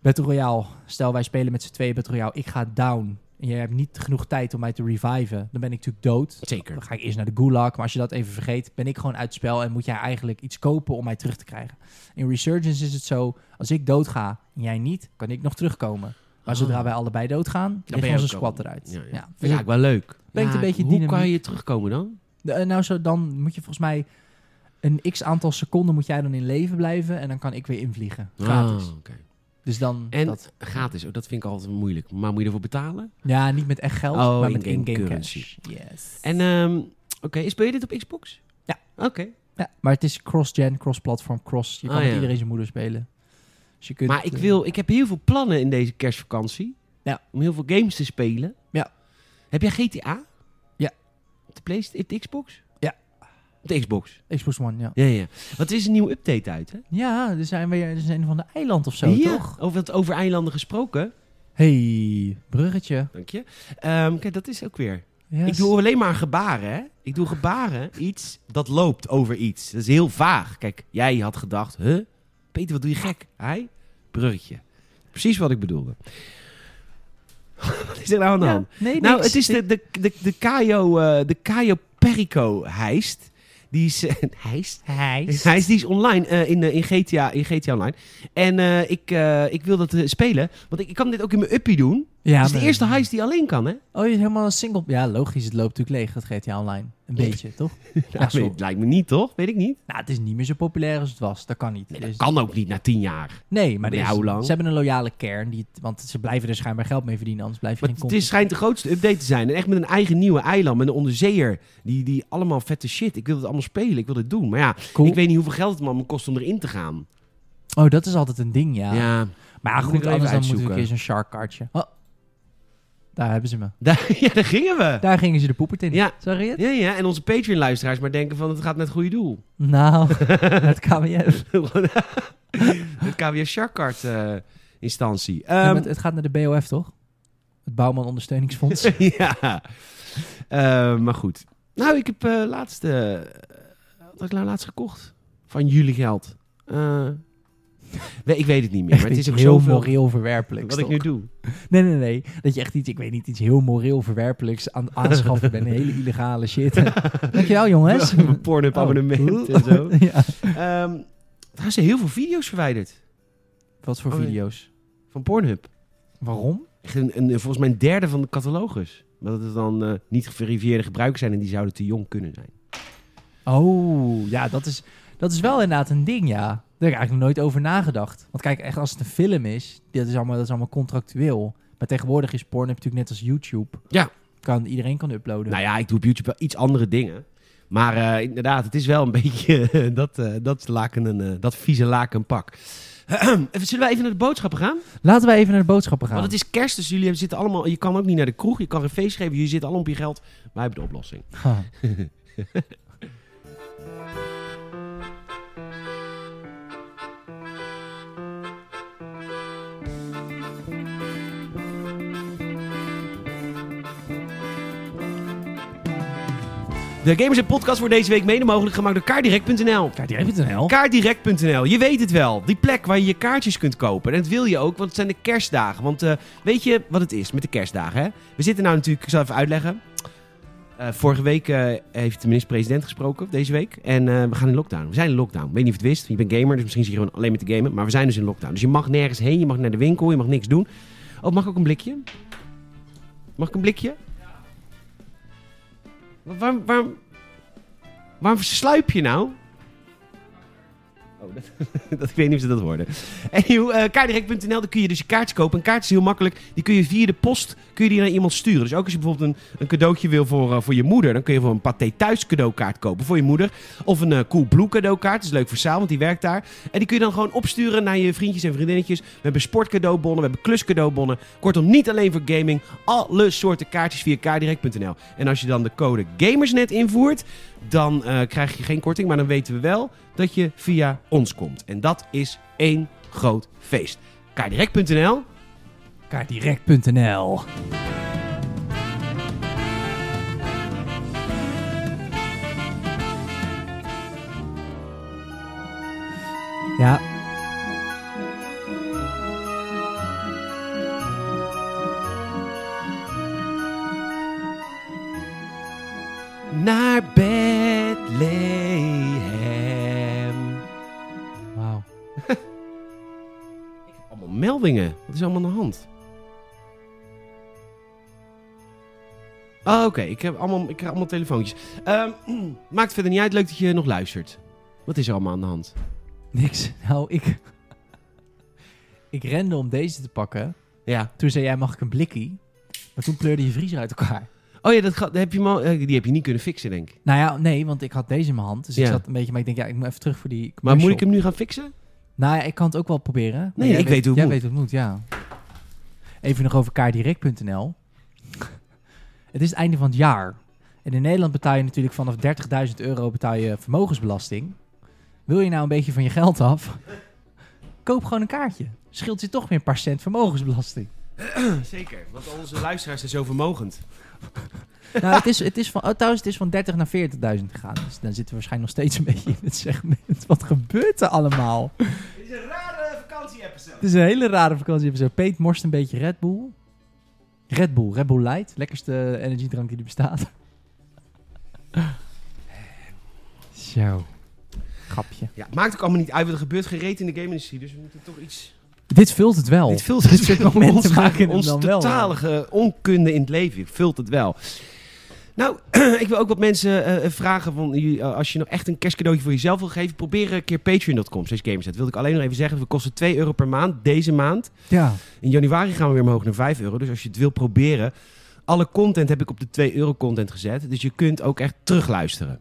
Speaker 2: Battle Royale, stel wij spelen met z'n tweeën Battle Royale, ik ga down en jij hebt niet genoeg tijd om mij te reviven, dan ben ik natuurlijk dood.
Speaker 1: Zeker.
Speaker 2: Dan ga ik eerst naar de gulag, maar als je dat even vergeet, ben ik gewoon uit het spel en moet jij eigenlijk iets kopen om mij terug te krijgen. In Resurgence is het zo, als ik doodga en jij niet, kan ik nog terugkomen. Maar
Speaker 1: Ah.
Speaker 2: zodra wij allebei doodgaan,
Speaker 1: ben
Speaker 2: ligt
Speaker 1: je
Speaker 2: onze
Speaker 1: ook
Speaker 2: squad
Speaker 1: dood.
Speaker 2: eruit.
Speaker 1: Ja, ja.
Speaker 2: Dus
Speaker 1: Ja, wel leuk.
Speaker 2: brengt
Speaker 1: Ja,
Speaker 2: een beetje
Speaker 1: hoe
Speaker 2: dynamiek.
Speaker 1: kan je terugkomen dan?
Speaker 2: de- eh, nou, zo, dan moet je volgens mij een x aantal seconden moet jij dan in leven blijven en dan kan ik weer invliegen. Gratis.
Speaker 1: Ah, oké.
Speaker 2: Dus dan
Speaker 1: En
Speaker 2: dat.
Speaker 1: gratis, ook, dat vind ik altijd moeilijk. Maar moet je ervoor betalen?
Speaker 2: Ja, niet met echt geld,
Speaker 1: Oh,
Speaker 2: maar met
Speaker 1: in-game
Speaker 2: in-game
Speaker 1: currency.
Speaker 2: cash. Yes.
Speaker 1: En ehm, oké, speel je dit op Xbox?
Speaker 2: Ja.
Speaker 1: Oké.
Speaker 2: ja, maar het is cross-gen, cross-platform, cross. Je kan
Speaker 1: Ah,
Speaker 2: met
Speaker 1: ja.
Speaker 2: iedereen zijn moeder spelen. Dus je kunt,
Speaker 1: Maar ik,
Speaker 2: eh,
Speaker 1: wil, ik heb heel veel plannen in deze kerstvakantie.
Speaker 2: Ja.
Speaker 1: Om heel veel games te spelen.
Speaker 2: Ja.
Speaker 1: Heb jij GTA?
Speaker 2: Ja.
Speaker 1: Op de, Playst- op de Xbox?
Speaker 2: Ja.
Speaker 1: Op de Xbox?
Speaker 2: Xbox One, ja.
Speaker 1: Ja, ja. Wat is een nieuwe update uit, hè?
Speaker 2: Ja, er zijn weer er zijn van de eiland of zo,
Speaker 1: ja,
Speaker 2: toch?
Speaker 1: over het over eilanden gesproken.
Speaker 2: Hey, bruggetje.
Speaker 1: Dank je. Ehm, kijk, dat is ook weer.
Speaker 2: Yes.
Speaker 1: Ik doe alleen maar gebaren, hè? Ik doe gebaren, iets dat loopt over iets. Dat is heel vaag. Kijk, jij had gedacht, huh? Peter, wat doe je gek? Hij? Bruggetje. Precies wat ik bedoelde. wat is er nou aan de
Speaker 2: Ja,
Speaker 1: hand?
Speaker 2: Nee,
Speaker 1: Nou,
Speaker 2: niks.
Speaker 1: het is de, de, de, de Cayo, eh, de Cayo Perico heist. Die is, eh, heist?
Speaker 2: Hijs.
Speaker 1: Hij is, die is online eh, in, eh, in, GTA, in GTA Online. En eh, ik, eh, ik wil dat eh, spelen. Want ik, ik kan dit ook in mijn uppie doen.
Speaker 2: Ja,
Speaker 1: dat is de
Speaker 2: maar-
Speaker 1: eerste heist die alleen kan, hè?
Speaker 2: Oh, je is helemaal een single... Ja, logisch, het loopt natuurlijk leeg, dat GTA Online. Een beetje, toch?
Speaker 1: Nou,
Speaker 2: zo.
Speaker 1: weet- lijkt me niet, toch? Weet ik niet.
Speaker 2: Nou, het is niet meer zo populair als het was. Dat kan niet.
Speaker 1: Nee,
Speaker 2: Er
Speaker 1: dat
Speaker 2: is-
Speaker 1: kan ook niet na tien jaar.
Speaker 2: Nee, maar
Speaker 1: Maar
Speaker 2: er
Speaker 1: ja,
Speaker 2: is-
Speaker 1: hoe lang?
Speaker 2: ze hebben een loyale kern. Die het- want ze blijven er schijnbaar geld mee verdienen, anders blijf je
Speaker 1: Maar
Speaker 2: geen
Speaker 1: het
Speaker 2: content.
Speaker 1: is, schijnt de grootste update te zijn. En echt met een eigen nieuwe eiland. Met een onderzeeër. Die, die allemaal vette shit. Ik wil het allemaal spelen. Ik wil dit doen. Maar ja,
Speaker 2: Cool.
Speaker 1: ik weet niet hoeveel geld het me allemaal kost om erin te gaan.
Speaker 2: Oh, dat is altijd een ding, ja.
Speaker 1: Ja.
Speaker 2: Maar ja,
Speaker 1: Moet
Speaker 2: goed,
Speaker 1: ik er even
Speaker 2: anders dan moeten we
Speaker 1: uitzoeken.
Speaker 2: een keer zo'n shark kaartje. Oh, daar hebben ze me.
Speaker 1: Daar, ja, daar gingen we.
Speaker 2: Daar gingen ze de poepert in.
Speaker 1: Ja.
Speaker 2: Zag je het?
Speaker 1: Ja, ja. En onze Patreon-luisteraars maar denken van... Het gaat naar het goede doel.
Speaker 2: Nou, het
Speaker 1: Ehm,
Speaker 2: KWF.
Speaker 1: het KWF Sharkcard eh instantie.
Speaker 2: Ja, maar
Speaker 1: Ehm,
Speaker 2: het, het gaat naar de BOF, toch? Het Bouwman Ondersteuningsfonds.
Speaker 1: ja. Ehm, maar goed. Nou, ik heb eh laatst... eh, wat had ik nou laatst gekocht? Van jullie geld. Eh, nee, ik weet het niet meer.
Speaker 2: Echt
Speaker 1: Maar het is
Speaker 2: iets
Speaker 1: ook
Speaker 2: heel
Speaker 1: zoveel
Speaker 2: moreel verwerpelijk.
Speaker 1: wat ik nu doe.
Speaker 2: Nee, nee, nee. Dat je echt iets, ik weet niet, iets heel moreel verwerpelijks aan het aanschaffen bent. Een hele illegale shit. Dankjewel, jongens.
Speaker 1: Mijn Pornhub abonnement en zo.
Speaker 2: ja.
Speaker 1: Ehm, daar zijn heel veel video's verwijderd.
Speaker 2: Wat voor
Speaker 1: Oh, ja.
Speaker 2: video's?
Speaker 1: Van Pornhub.
Speaker 2: Waarom?
Speaker 1: Echt een, een- volgens mij een derde van de catalogus. Maar dat het dan eh, niet geverifieerde gebruikers zijn en die zouden te jong kunnen zijn.
Speaker 2: Oh, ja, dat is, dat is wel inderdaad een ding, ja. Daar heb ik eigenlijk nog nooit over nagedacht. Want kijk, echt als het een film is, dat is allemaal, dat is allemaal contractueel. Maar tegenwoordig is porn natuurlijk net als YouTube.
Speaker 1: Ja.
Speaker 2: Kan, iedereen kan uploaden.
Speaker 1: Nou ja, ik doe op YouTube wel iets andere dingen. Maar eh, inderdaad, het is wel een beetje eh, dat, eh, dat, laken een, eh, dat vieze lakenpak. Even, zullen we even naar de boodschappen gaan?
Speaker 2: Laten wij even naar de boodschappen gaan.
Speaker 1: Want het is kerst, dus jullie zitten allemaal... Je kan ook niet naar de kroeg, je kan geen feest geven, jullie zitten allemaal op je geld. Wij hebben de oplossing.
Speaker 2: Ha.
Speaker 1: De Gamers en Podcast wordt deze week mede mogelijk gemaakt door kaardirect.nl.
Speaker 2: Kijk, die heeft het een hel.
Speaker 1: Kaartdirect.nl, je weet het wel. Die plek waar je je kaartjes kunt kopen. En dat wil je ook, want het zijn de kerstdagen. Want eh, weet je wat het is met de kerstdagen? Hè? We zitten nou natuurlijk, ik zal even uitleggen. Eh, vorige week eh, heeft de minister-president gesproken, deze week. En eh, we gaan in lockdown. We zijn in lockdown. Ik weet niet of je het wist, je bent gamer, dus misschien zit je gewoon alleen met de gamen. Maar we zijn dus in lockdown. Dus je mag nergens heen, je mag naar de winkel, je mag niks doen. Oh, mag ik ook een blikje? Mag ik een blikje? Wa- Waarom, waarom, waarom sluip je nou? Oh, dat, dat, ik weet niet of ze dat hoorden. Anywho, eh kaartdirect.nl, daar kun je dus je kaartjes kopen. Een kaart is heel makkelijk. Die kun je via de post kun je die naar iemand sturen. Dus ook als je bijvoorbeeld een, een cadeautje wil voor, eh, voor je moeder... dan kun je voor een Pathé Thuis cadeaukaart kopen voor je moeder. Of een eh, cool Coolblue cadeaukaart. Dat is leuk voor Saal, want die werkt daar. En die kun je dan gewoon opsturen naar je vriendjes en vriendinnetjes. We hebben sportcadeaubonnen, we hebben kluscadeaubonnen. Kortom, niet alleen voor gaming. Alle soorten kaartjes via kaartdirect.nl. En als je dan de code GAMERSNET invoert... dan eh, krijg je geen korting. Maar dan weten we wel dat je via ons komt. En dat is één groot feest. Kaardirect.nl.
Speaker 2: Kaartdirect.nl Ja.
Speaker 1: Naar Bethlehem.
Speaker 2: Wauw.
Speaker 1: Allemaal meldingen. Wat is er allemaal aan de hand? Oh, Oké, ik heb allemaal, ik krijg allemaal telefoontjes. Ehm, maakt verder niet uit. Leuk dat je nog luistert. Wat is er allemaal aan de hand?
Speaker 2: Niks. Nou, ik... ik rende om deze te pakken.
Speaker 1: Ja.
Speaker 2: Toen zei jij, mag ik een blikkie? Maar toen pleurde je vriezer uit elkaar.
Speaker 1: Oh ja, dat ga- heb je hem al- eh, die heb je niet kunnen fixen, denk ik.
Speaker 2: Nou ja, nee, want ik had deze in mijn hand. Dus ik
Speaker 1: Ja.
Speaker 2: zat een beetje... Maar ik denk, ja, ik moet even terug voor die
Speaker 1: Maar moet
Speaker 2: commercial.
Speaker 1: ik hem nu gaan fixen?
Speaker 2: Nou ja, ik kan het ook wel proberen. Maar
Speaker 1: Nee,
Speaker 2: jij
Speaker 1: ik weet hoe het
Speaker 2: jij
Speaker 1: moet.
Speaker 2: weet hoe het moet, ja. Even nog over kaardirect.nl. Het is het einde van het jaar. En in Nederland betaal je natuurlijk vanaf 30.000 euro betaal je vermogensbelasting. Wil je nou een beetje van je geld af? Koop gewoon een kaartje. Scheelt je toch weer een paar cent vermogensbelasting.
Speaker 1: Zeker, want onze luisteraars zijn zo vermogend.
Speaker 2: Nou, het is, het is van, oh, trouwens, het is van 30 naar 40.000 gegaan. Dus dan zitten we waarschijnlijk nog steeds een beetje in het segment. Wat gebeurt er allemaal?
Speaker 1: Dit is een rare vakantie-episode.
Speaker 2: Het is een hele rare vakantie. Zo, Peet morst een beetje Red Bull. Red Bull, Red Bull Light. Lekkerste energiedrank die er bestaat. Zo. Grapje.
Speaker 1: Ja, maakt ook allemaal niet uit, want er gebeurt geen reet in de game-industrie. Dus we moeten toch iets...
Speaker 2: Dit vult het wel.
Speaker 1: Dit vult het wel.
Speaker 2: momenten
Speaker 1: Ons,
Speaker 2: maken het
Speaker 1: ons
Speaker 2: dan wel.
Speaker 1: totalige onkunde in het leven vult het wel. Nou, ik wil ook wat mensen eh, vragen. Van, jullie, eh, als je nog echt een kerstcadeautje voor jezelf wil geven, probeer een keer patreon.com. slash gamerset. Dat wilde ik alleen nog even zeggen. We kosten 2 euro per maand deze maand.
Speaker 2: Ja.
Speaker 1: In januari gaan we weer omhoog naar 5 euro. Dus als je het wil proberen. Alle content heb ik op de 2 euro content gezet. Dus je kunt ook echt terugluisteren.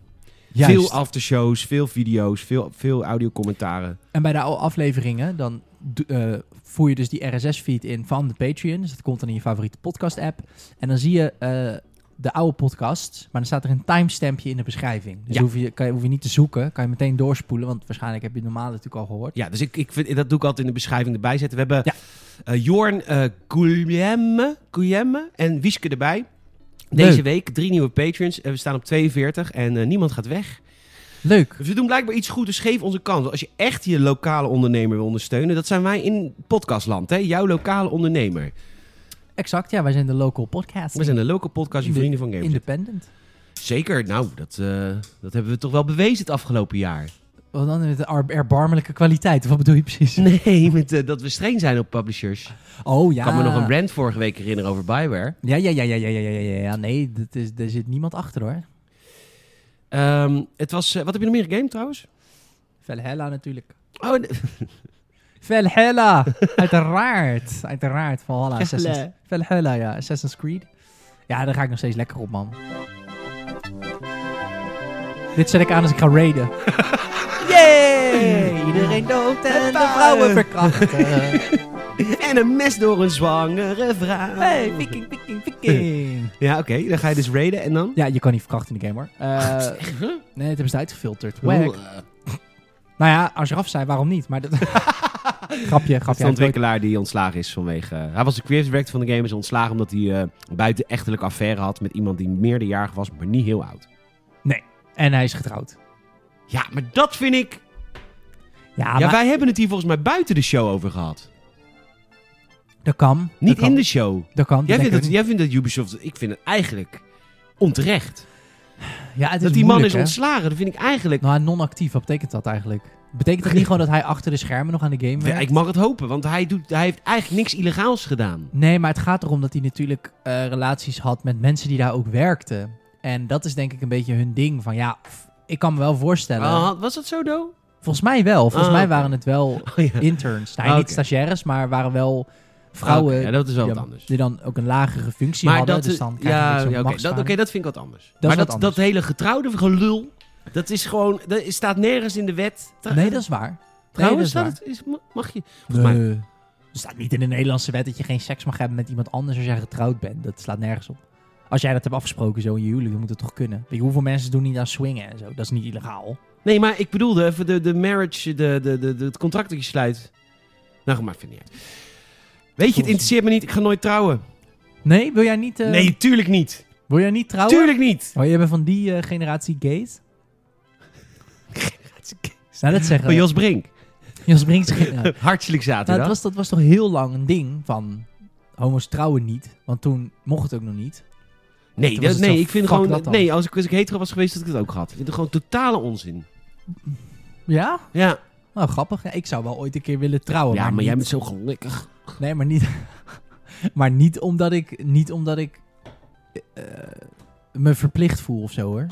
Speaker 2: Juist.
Speaker 1: Veel aftershows, veel video's, veel, veel audiocommentaren.
Speaker 2: En bij de oude afleveringen, dan do- eh, voer je dus die RSS-feed in van de Patreon. Dus dat komt dan in je favoriete podcast-app. En dan zie je eh, de oude podcast, maar dan staat er een timestampje in de beschrijving. Dus
Speaker 1: Ja.
Speaker 2: hoef, je, kan je, hoef je niet te zoeken, kan je meteen doorspoelen. Want waarschijnlijk heb je het normale natuurlijk al gehoord.
Speaker 1: Ja, dus ik, ik vind, dat doe ik altijd in de beschrijving erbij zetten. We hebben
Speaker 2: Ja.
Speaker 1: eh, Jorn eh Guillemme, Guillemme en Wieske erbij.
Speaker 2: Leuk.
Speaker 1: Deze week drie nieuwe patrons. Eh, we staan op 42 en eh, niemand gaat weg.
Speaker 2: Leuk.
Speaker 1: Dus we doen blijkbaar iets goed, dus geef onze kans. Als je echt je lokale ondernemer wil ondersteunen, dat zijn wij in podcastland, hè? jouw lokale ondernemer.
Speaker 2: Exact, ja, wij zijn de local podcast.
Speaker 1: We zijn de local podcast, je
Speaker 2: In de-
Speaker 1: vrienden van Games.
Speaker 2: independent.
Speaker 1: Zeker, nou, dat, eh, dat hebben we toch wel bewezen het afgelopen jaar.
Speaker 2: Wat dan met de ar- erbarmelijke kwaliteit? Of Wat bedoel je precies?
Speaker 1: Nee, met, eh, dat we streng zijn op publishers. Ik
Speaker 2: Oh ja.
Speaker 1: kan me nog een rant vorige week herinneren over Bioware.
Speaker 2: Ja, ja, ja, ja, ja, ja, ja, ja, ja. Nee, dat is, daar zit niemand achter hoor.
Speaker 1: Ehm, het was, eh, wat heb je nog meer game trouwens?
Speaker 2: Valhalla natuurlijk.
Speaker 1: Oh, nee.
Speaker 2: Valhalla! uiteraard. Uiteraard. Valhalla. Assassin's,
Speaker 1: Valhalla.
Speaker 2: Valhalla, ja. Assassin's Creed. Ja, daar ga ik nog steeds lekker op, man. Dit zet ik aan als ik ga raiden. Yay! Iedereen dood en de
Speaker 1: Huppa!
Speaker 2: vrouwen verkrachten.
Speaker 1: en een mes door een zwangere vrouw.
Speaker 2: Hey, viking, viking, viking.
Speaker 1: Ja, oké, dan ga je dus raiden en dan?
Speaker 2: Ja, je kan niet verkrachten in de game hoor. Eh, nee, het hebben ze uitgefilterd. Wack.
Speaker 1: Oeh, eh,
Speaker 2: Nou ja, als je eraf zei, waarom niet? Maar dat... grapje,
Speaker 1: Dat is
Speaker 2: grapje.
Speaker 1: de ontwikkelaar die ontslagen is vanwege... eh, hij was de creative director van de game, is ontslagen omdat hij eh, een buitenechtelijke affaire had met iemand die meerderjarig was, maar niet heel oud.
Speaker 2: En hij is getrouwd.
Speaker 1: Ja, maar dat vind ik...
Speaker 2: Ja,
Speaker 1: Ja,
Speaker 2: Ah, maar
Speaker 1: wij hebben het hier volgens mij buiten de show over gehad.
Speaker 2: dat kan.
Speaker 1: Niet
Speaker 2: dat kan,
Speaker 1: in de show.
Speaker 2: Dat kan.
Speaker 1: Jij
Speaker 2: dat
Speaker 1: vindt, dat,
Speaker 2: denk ik
Speaker 1: jij vindt dat Ubisoft... Ik vind het eigenlijk onterecht.
Speaker 2: ook niet. ja, het is
Speaker 1: Dat die man
Speaker 2: moeilijk,
Speaker 1: is
Speaker 2: hè?
Speaker 1: ontslagen, dat vind ik eigenlijk...
Speaker 2: Nou, non-actief, wat betekent dat eigenlijk? Betekent dat niet gewoon dat hij achter de schermen nog aan de game
Speaker 1: Ja,
Speaker 2: werkt?
Speaker 1: ik mag het hopen, want hij, doet, hij heeft eigenlijk niks illegaals gedaan.
Speaker 2: Nee, maar het gaat erom dat hij natuurlijk eh, relaties had met mensen die daar ook werkten. En dat is denk ik een beetje hun ding. Van ja, f- ik kan me wel voorstellen.
Speaker 1: Ah, was dat zo, Do?
Speaker 2: Volgens mij wel. Volgens
Speaker 1: Ah,
Speaker 2: mij
Speaker 1: oké.
Speaker 2: waren het wel
Speaker 1: Oh, ja.
Speaker 2: interns. Nou,
Speaker 1: Ah,
Speaker 2: niet
Speaker 1: oké. Ah,
Speaker 2: stagiaires, maar waren wel vrouwen
Speaker 1: Oké, ja, dat is wel
Speaker 2: die,
Speaker 1: wat
Speaker 2: dan-
Speaker 1: anders.
Speaker 2: die dan ook een lagere functie hadden. dus dan krijg je
Speaker 1: ja,
Speaker 2: een beetje
Speaker 1: ja,
Speaker 2: zo'n
Speaker 1: oké, dat,
Speaker 2: machtsbaan.
Speaker 1: oké, dat vind ik wat anders.
Speaker 2: is
Speaker 1: maar
Speaker 2: wat
Speaker 1: dat,
Speaker 2: anders.
Speaker 1: dat hele getrouwde gelul, dat is gewoon, dat is- staat nergens in de wet. Tra-
Speaker 2: Nee, dat is waar.
Speaker 1: trouwens,
Speaker 2: nee, dat
Speaker 1: staat het- is, ma- mag je.
Speaker 2: Nee.
Speaker 1: volgens
Speaker 2: Er staat niet in de Nederlandse wet dat je geen seks mag hebben met iemand anders als jij getrouwd bent. Dat slaat nergens op. als jij dat hebt afgesproken zo in je huwelijk, dan moet het toch kunnen. Weet je, hoeveel mensen doen niet aan swingen en zo? Dat is niet illegaal.
Speaker 1: Nee, maar ik bedoelde even de, de marriage, de, de, de, de- het contract dat je sluit. Nou, goed, maar het vindt niet uit. Weet je, het interesseert me niet. Ik ga nooit trouwen.
Speaker 2: Nee, wil jij niet, eh,
Speaker 1: Nee, tuurlijk niet.
Speaker 2: wil jij niet trouwen?
Speaker 1: Tuurlijk niet.
Speaker 2: Oh, jij bent van die eh, generatie gays? Nou, dat zeggen
Speaker 1: Van Jos Brink.
Speaker 2: Jos Brinks. Ja.
Speaker 1: Hartelijk
Speaker 2: Nou, dat,
Speaker 1: zaterdag.
Speaker 2: was, dat was toch heel lang een ding van homo's trouwen niet. Want toen mocht het ook nog niet.
Speaker 1: Nee,
Speaker 2: Toen
Speaker 1: dat-
Speaker 2: was het
Speaker 1: nee,
Speaker 2: zo,
Speaker 1: ik vind
Speaker 2: fuck
Speaker 1: gewoon...
Speaker 2: dat dan.
Speaker 1: Nee, als ik, als ik hetero was geweest, had ik het ook gehad. Ik vind het gewoon totale onzin.
Speaker 2: Ja?
Speaker 1: Ja,
Speaker 2: Nou, grappig. Ja, ik zou wel ooit een keer willen trouwen.
Speaker 1: ja maar, jij bent
Speaker 2: niet-
Speaker 1: zo gelukkig.
Speaker 2: Nee, maar niet... maar niet omdat ik... Niet omdat ik eh, me verplicht voel of zo, hoor.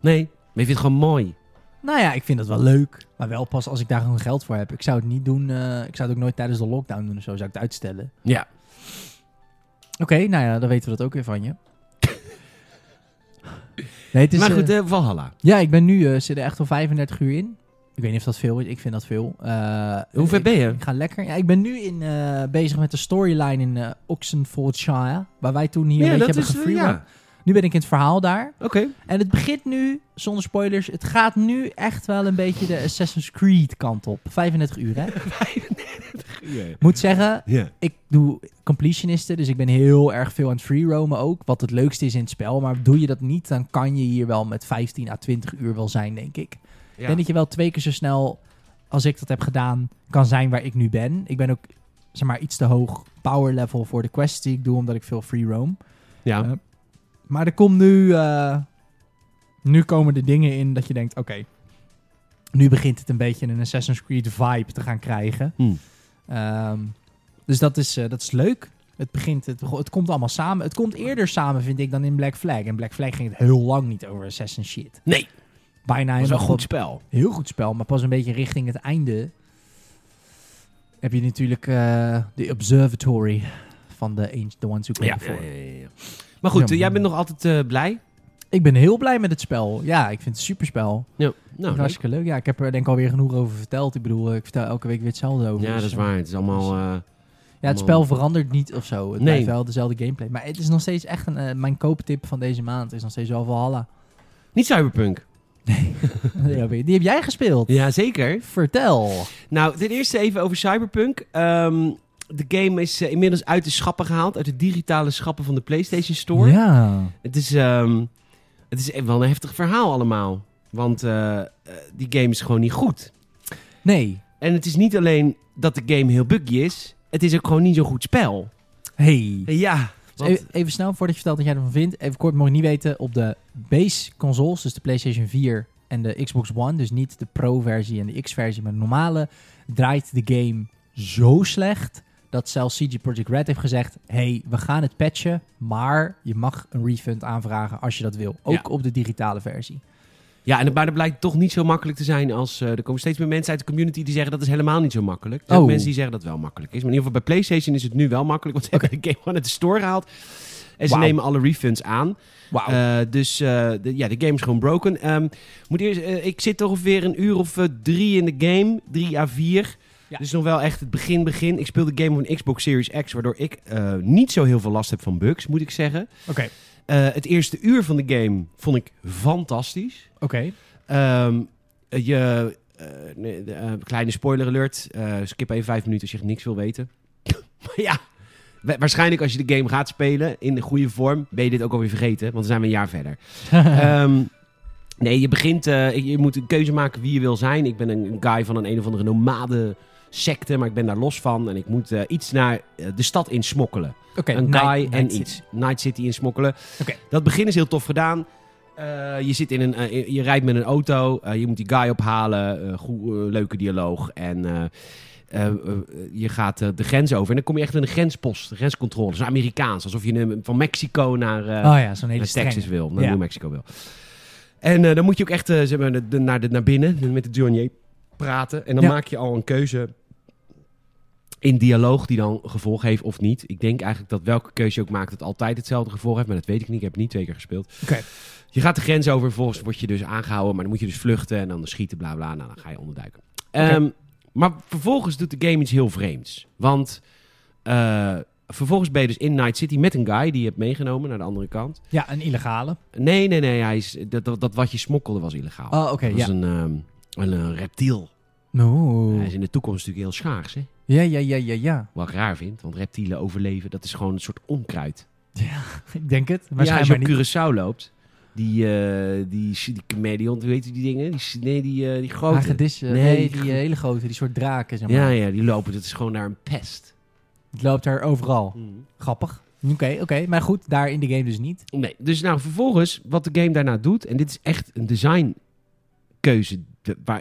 Speaker 1: Nee, maar je vindt het gewoon mooi.
Speaker 2: Nou ja, ik vind dat wel leuk. Maar wel pas als ik daar gewoon geld voor heb. Ik zou het niet doen... eh, ik zou het ook nooit tijdens de lockdown doen of zo. Zou ik het uitstellen.
Speaker 1: Ja.
Speaker 2: Oké, nou ja, dan weten we dat ook weer van je. nee, het is...
Speaker 1: maar
Speaker 2: eh,
Speaker 1: goed, eh, Valhalla.
Speaker 2: Ja, ik ben nu, eh, zit er echt al 35 uur in. Ik weet niet of dat veel is, ik vind dat veel. Eh,
Speaker 1: Hoe ver
Speaker 2: ik-
Speaker 1: ben je?
Speaker 2: Ik ga lekker. Ja, ik ben nu in, eh, bezig met de storyline in eh, Oxenfordshire, waar wij toen hier een beetje hebben
Speaker 1: eh,
Speaker 2: gefreeword.
Speaker 1: ja.
Speaker 2: Nu ben ik in het verhaal daar.
Speaker 1: Oké.
Speaker 2: En het begint nu, zonder spoilers, het gaat nu echt wel een beetje de Assassin's Creed kant op. 35 uur, hè?
Speaker 1: Ja.
Speaker 2: Moet zeggen, ik doe completionisten, dus ik ben heel erg veel aan het freeroamen ook. Wat het leukste is in het spel. Maar doe je dat niet, dan kan je hier wel met 15 à 20 uur wel zijn, denk ik. Ik denk dat je wel twee keer zo snel als ik dat heb gedaan, kan zijn waar ik nu ben. Ik ben ook, zeg maar, iets te hoog power level voor de quests die ik doe, omdat ik veel free roam.
Speaker 1: Ja.
Speaker 2: Eh, Maar er komt nu, eh, nu komen de dingen in dat je denkt, oké, nu begint het een beetje een Assassin's Creed vibe te gaan krijgen.
Speaker 1: Hmm.
Speaker 2: Ehm, dus dat is, eh, dat is leuk. Het, begint, het, het komt allemaal samen. Het komt eerder samen, vind ik, dan in Black Flag. En Black Flag ging het heel lang niet over Assassin's shit.
Speaker 1: Nee,
Speaker 2: Bijna
Speaker 1: dat is een
Speaker 2: helemaal
Speaker 1: goed spel.
Speaker 2: heel goed spel, maar pas een beetje richting het einde heb je natuurlijk eh, de observatory van de Ange- The Ones Who Came
Speaker 1: Ja.
Speaker 2: Before.
Speaker 1: Maar goed,
Speaker 2: Ja,
Speaker 1: eh,
Speaker 2: maar-
Speaker 1: jij bent nog altijd eh, blij?
Speaker 2: Ik ben heel blij met het spel. Ja, ik vind het een superspel.
Speaker 1: Ja.
Speaker 2: Nou,
Speaker 1: Nou, leuk.
Speaker 2: hartstikke leuk. Ja, ik heb er denk ik alweer genoeg over verteld. Ik bedoel, eh, ik vertel elke week weer hetzelfde over.
Speaker 1: ja, dat
Speaker 2: Dus,
Speaker 1: is
Speaker 2: eh,
Speaker 1: waar. Het is allemaal... eh,
Speaker 2: Ja, het spel verandert niet of zo. Het
Speaker 1: Nee.
Speaker 2: blijft wel dezelfde gameplay. Maar het is nog steeds echt een, eh, mijn kooptip van deze maand. is nog steeds wel Valhalla.
Speaker 1: eh, Niet cyberpunk.
Speaker 2: Ja, Die heb jij gespeeld.
Speaker 1: Ja, zeker.
Speaker 2: Vertel.
Speaker 1: Nou, ten eerste even over Cyberpunk. Ehm, de game is eh, inmiddels uit de schappen gehaald. Uit de digitale schappen van de PlayStation Store.
Speaker 2: Ja.
Speaker 1: Het, is, ehm, het is wel een heftig verhaal allemaal. Want eh, eh, die game is gewoon niet goed.
Speaker 2: Nee.
Speaker 1: En het is niet alleen dat de game heel buggy is. Het is ook gewoon niet zo'n goed spel.
Speaker 2: Hey.
Speaker 1: Ja.
Speaker 2: Dus
Speaker 1: want-
Speaker 2: even, even snel, voordat je vertelt wat jij ervan vindt. Even kort, mocht je niet weten, op de base consoles, dus de PlayStation 4 en de Xbox One, dus niet de Pro-versie en de X-versie, maar de normale, draait de game zo slecht dat zelfs CG Projekt Red heeft gezegd, hey, we gaan het patchen, maar je mag een refund aanvragen als je dat wil. Ook op de digitale versie.
Speaker 1: ja, en, maar dat blijkt toch niet zo makkelijk te zijn als... eh, er komen steeds meer mensen uit de community die zeggen dat is helemaal niet zo makkelijk. Er zijn ook
Speaker 2: Oh.
Speaker 1: mensen die zeggen dat het wel makkelijk is. Maar in ieder geval bij PlayStation is het nu wel makkelijk. Want ze hebben de game gewoon uit de store gehaald. En ze
Speaker 2: Wauw.
Speaker 1: nemen alle refunds aan.
Speaker 2: Wauw.
Speaker 1: Eh, dus eh, de, ja, de game is gewoon broken. Ehm, moet eerst, eh, ik zit ongeveer een uur of eh, drie in de game. Drie à vier.
Speaker 2: Ja.
Speaker 1: Dus nog wel echt het begin, begin. Ik speel de game op een Xbox Series X, waardoor ik eh, niet zo heel veel last heb van bugs, moet ik zeggen.
Speaker 2: Oké.
Speaker 1: Eh, het eerste uur van de game vond ik fantastisch.
Speaker 2: Oké.
Speaker 1: Ehm, je, eh, nee, de, eh, kleine spoiler alert. Eh, skip even vijf minuten als je echt niks wil weten. maar ja, wa- waarschijnlijk als je de game gaat spelen in de goede vorm, ben je dit ook alweer vergeten, want dan zijn we een jaar verder. Ehm, nee, je begint, eh, je moet een keuze maken wie je wil zijn. Ik ben een, een guy van een een of andere nomade secte, maar ik ben daar los van en ik moet eh, iets naar eh, de stad insmokkelen
Speaker 2: Oké. nou,
Speaker 1: een
Speaker 2: Night-
Speaker 1: guy en
Speaker 2: Night City.
Speaker 1: iets. Night City insmokkelen.
Speaker 2: Oké.
Speaker 1: Dat begin is heel tof gedaan. Eh, je, zit in een, eh, je rijdt met een auto, eh, je moet die guy ophalen, eh, goe- eh, leuke dialoog. En eh, eh, eh, je gaat eh, de grens over. En dan kom je echt in een grenspost, een grenscontrole. Zo Amerikaans, alsof je eh, van Mexico naar, eh,
Speaker 2: Oh ja, zo'n hele
Speaker 1: naar
Speaker 2: strenge.
Speaker 1: Texas wil, naar
Speaker 2: Ja.
Speaker 1: New Mexico wil. En eh, dan moet je ook echt eh, zeg maar, de- de- naar, de, naar binnen dus met de douanier praten. En dan
Speaker 2: Ja.
Speaker 1: maak je al een keuze in dialoog die dan gevolg heeft of niet. Ik denk eigenlijk dat welke keuze je ook maakt, het altijd hetzelfde gevolg heeft. Maar dat weet ik niet. Ik heb het niet twee keer gespeeld.
Speaker 2: Oké.
Speaker 1: Je gaat de grens over, vervolgens word je dus aangehouden. Maar dan moet je dus vluchten en dan schieten, bla bla. Nou, dan ga je onderduiken. Ehm, maar vervolgens doet de game iets heel vreemds. Want eh, vervolgens ben je dus in Night City met een guy die je hebt meegenomen naar de andere kant.
Speaker 2: Ja, een illegale.
Speaker 1: Nee, nee, nee. Hij is, dat, dat, dat wat je smokkelde was illegaal.
Speaker 2: Oh, oké,
Speaker 1: dat was
Speaker 2: ja.
Speaker 1: een, ehm, een, eh, reptiel.
Speaker 2: No.
Speaker 1: Hij is in de toekomst natuurlijk heel schaars, hè?
Speaker 2: Ja, ja, ja, ja, ja.
Speaker 1: Wat ik raar vind, want reptielen overleven, dat is gewoon een soort onkruid.
Speaker 2: Ik denk het.
Speaker 1: Ja, als je
Speaker 2: Waarschijnlijk
Speaker 1: op
Speaker 2: niet.
Speaker 1: Curaçao loopt, die, eh die, die chameleon, hoe heet die dingen? Die, nee, die, eh die grote.
Speaker 2: Hagedis, eh,
Speaker 1: Nee,
Speaker 2: nee,
Speaker 1: die
Speaker 2: die
Speaker 1: gro-
Speaker 2: eh, hele grote, die soort draken, zeg maar.
Speaker 1: Ja, ja, die lopen. Dat is gewoon daar een pest.
Speaker 2: Het loopt daar overal. Grappig. Oké, oké. Maar goed, daar in de game dus niet.
Speaker 1: Nee, dus nou vervolgens, wat de game daarna doet... en dit is echt een designkeuze de- waar...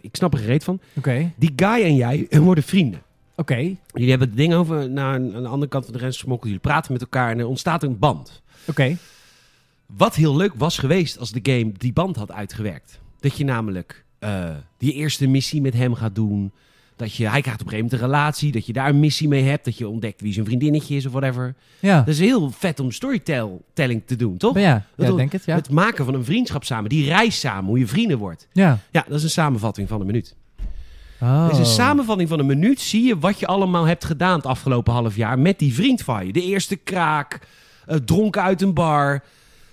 Speaker 1: Ik snap er geen reet van.
Speaker 2: Oké,
Speaker 1: Die guy en jij eh, worden vrienden.
Speaker 2: oké.
Speaker 1: Jullie hebben het ding over naar een- aan de andere kant van de grens gesmokkeld. Jullie praten met elkaar en er ontstaat een band.
Speaker 2: Oké.
Speaker 1: Wat heel leuk was geweest als de game die band had uitgewerkt. Dat je namelijk eh, die eerste missie met hem gaat doen. Dat je, hij krijgt op een gegeven moment een relatie. Dat je daar een missie mee hebt. Dat je ontdekt wie zijn vriendinnetje is of whatever.
Speaker 2: Ja.
Speaker 1: Dat is heel vet om storytelling te doen, Dus toch?
Speaker 2: Maar ja, ja,
Speaker 1: bedoel-
Speaker 2: denk het, ja.
Speaker 1: Het maken van een vriendschap samen. Die reis samen, hoe je vrienden wordt.
Speaker 2: Ja.
Speaker 1: Ja, dat is een samenvatting van een minuut.
Speaker 2: Oh.
Speaker 1: Dus een samenvatting van een minuut zie je wat je allemaal hebt gedaan het afgelopen half jaar met die vriend van je. De eerste kraak, eh, dronken uit een bar.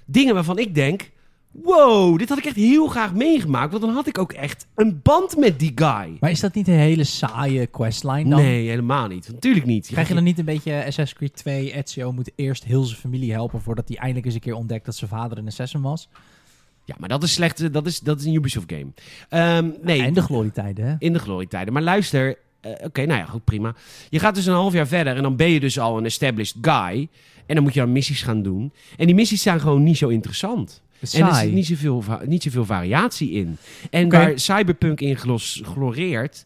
Speaker 1: Dingen waarvan ik denk, wow, dit had ik echt heel graag meegemaakt. Want dan had ik ook echt een band met die guy.
Speaker 2: Maar is dat niet een hele saaie questline dan?
Speaker 1: Nee, helemaal niet. Natuurlijk niet.
Speaker 2: Krijg je dan niet een beetje Assassin's Creed 2, Ezio moet eerst heel zijn familie helpen voordat hij eindelijk eens een keer ontdekt dat zijn vader een assassin was?
Speaker 1: Ja, maar dat is slecht. eh, Dat is, dat is een Ubisoft game. Ehm, nee,
Speaker 2: En de glorietijden, hè?
Speaker 1: in de glorietijden. Maar luister, eh, oké, nou ja, goed, prima. Je gaat dus een half jaar verder en dan ben je dus al een established guy. En dan moet je dan missies gaan doen. En die missies zijn gewoon niet zo interessant. En er
Speaker 2: Saai.
Speaker 1: zit niet zoveel, va- niet zoveel variatie in. En
Speaker 2: Oké.
Speaker 1: waar Cyberpunk in glos- gloreert,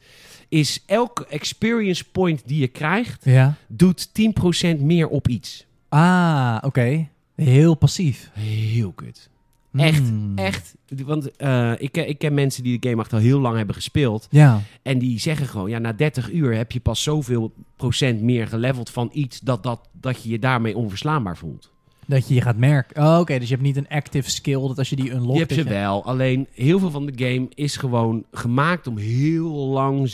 Speaker 1: is elke experience point die je krijgt,
Speaker 2: Ja.
Speaker 1: doet 10% meer op iets.
Speaker 2: Ah, oké. Heel passief.
Speaker 1: Heel kut. Echt,
Speaker 2: Hmm.
Speaker 1: echt. Want eh, ik, ken- ik ken mensen die de game echt al heel lang hebben gespeeld.
Speaker 2: Ja.
Speaker 1: En die zeggen gewoon, ja, na 30 uur heb je pas zoveel procent meer geleveld van iets dat, dat, dat je je daarmee onverslaanbaar voelt.
Speaker 2: Dat je je gaat merken. Oh, oké. Dus je hebt niet een active skill dat als je die unlockt...
Speaker 1: je hebt
Speaker 2: dat
Speaker 1: ze wel, alleen heel veel van de game is gewoon gemaakt om heel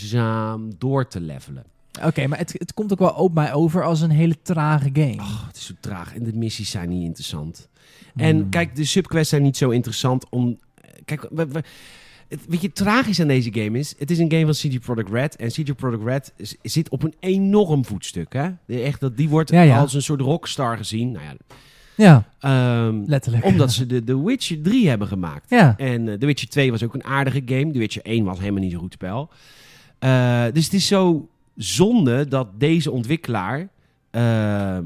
Speaker 1: langzaam door te levelen.
Speaker 2: Oké, maar het, het komt ook wel op mij over als een hele trage game.
Speaker 1: Oh, het is zo traag en de missies zijn niet interessant.
Speaker 2: Hmm.
Speaker 1: En kijk, de subquests zijn niet zo interessant om... eh, Kijk, we, we- het, weet je, tragisch aan deze game is... Het is een game van CG Product Red. En CG Product Red is- zit op een enorm voetstuk, hè? De- Echt, dat, die wordt
Speaker 2: Ja, ja.
Speaker 1: als een soort rockstar gezien. Nou ja,
Speaker 2: Ja,
Speaker 1: Ehm,
Speaker 2: letterlijk.
Speaker 1: omdat ze de, de Witcher 3 hebben gemaakt.
Speaker 2: Ja.
Speaker 1: En eh The Witcher 2 was ook een aardige game. The Witcher 1 was helemaal niet zo'n goed spel. Eh, dus het is zo zonde dat deze ontwikkelaar... ehm,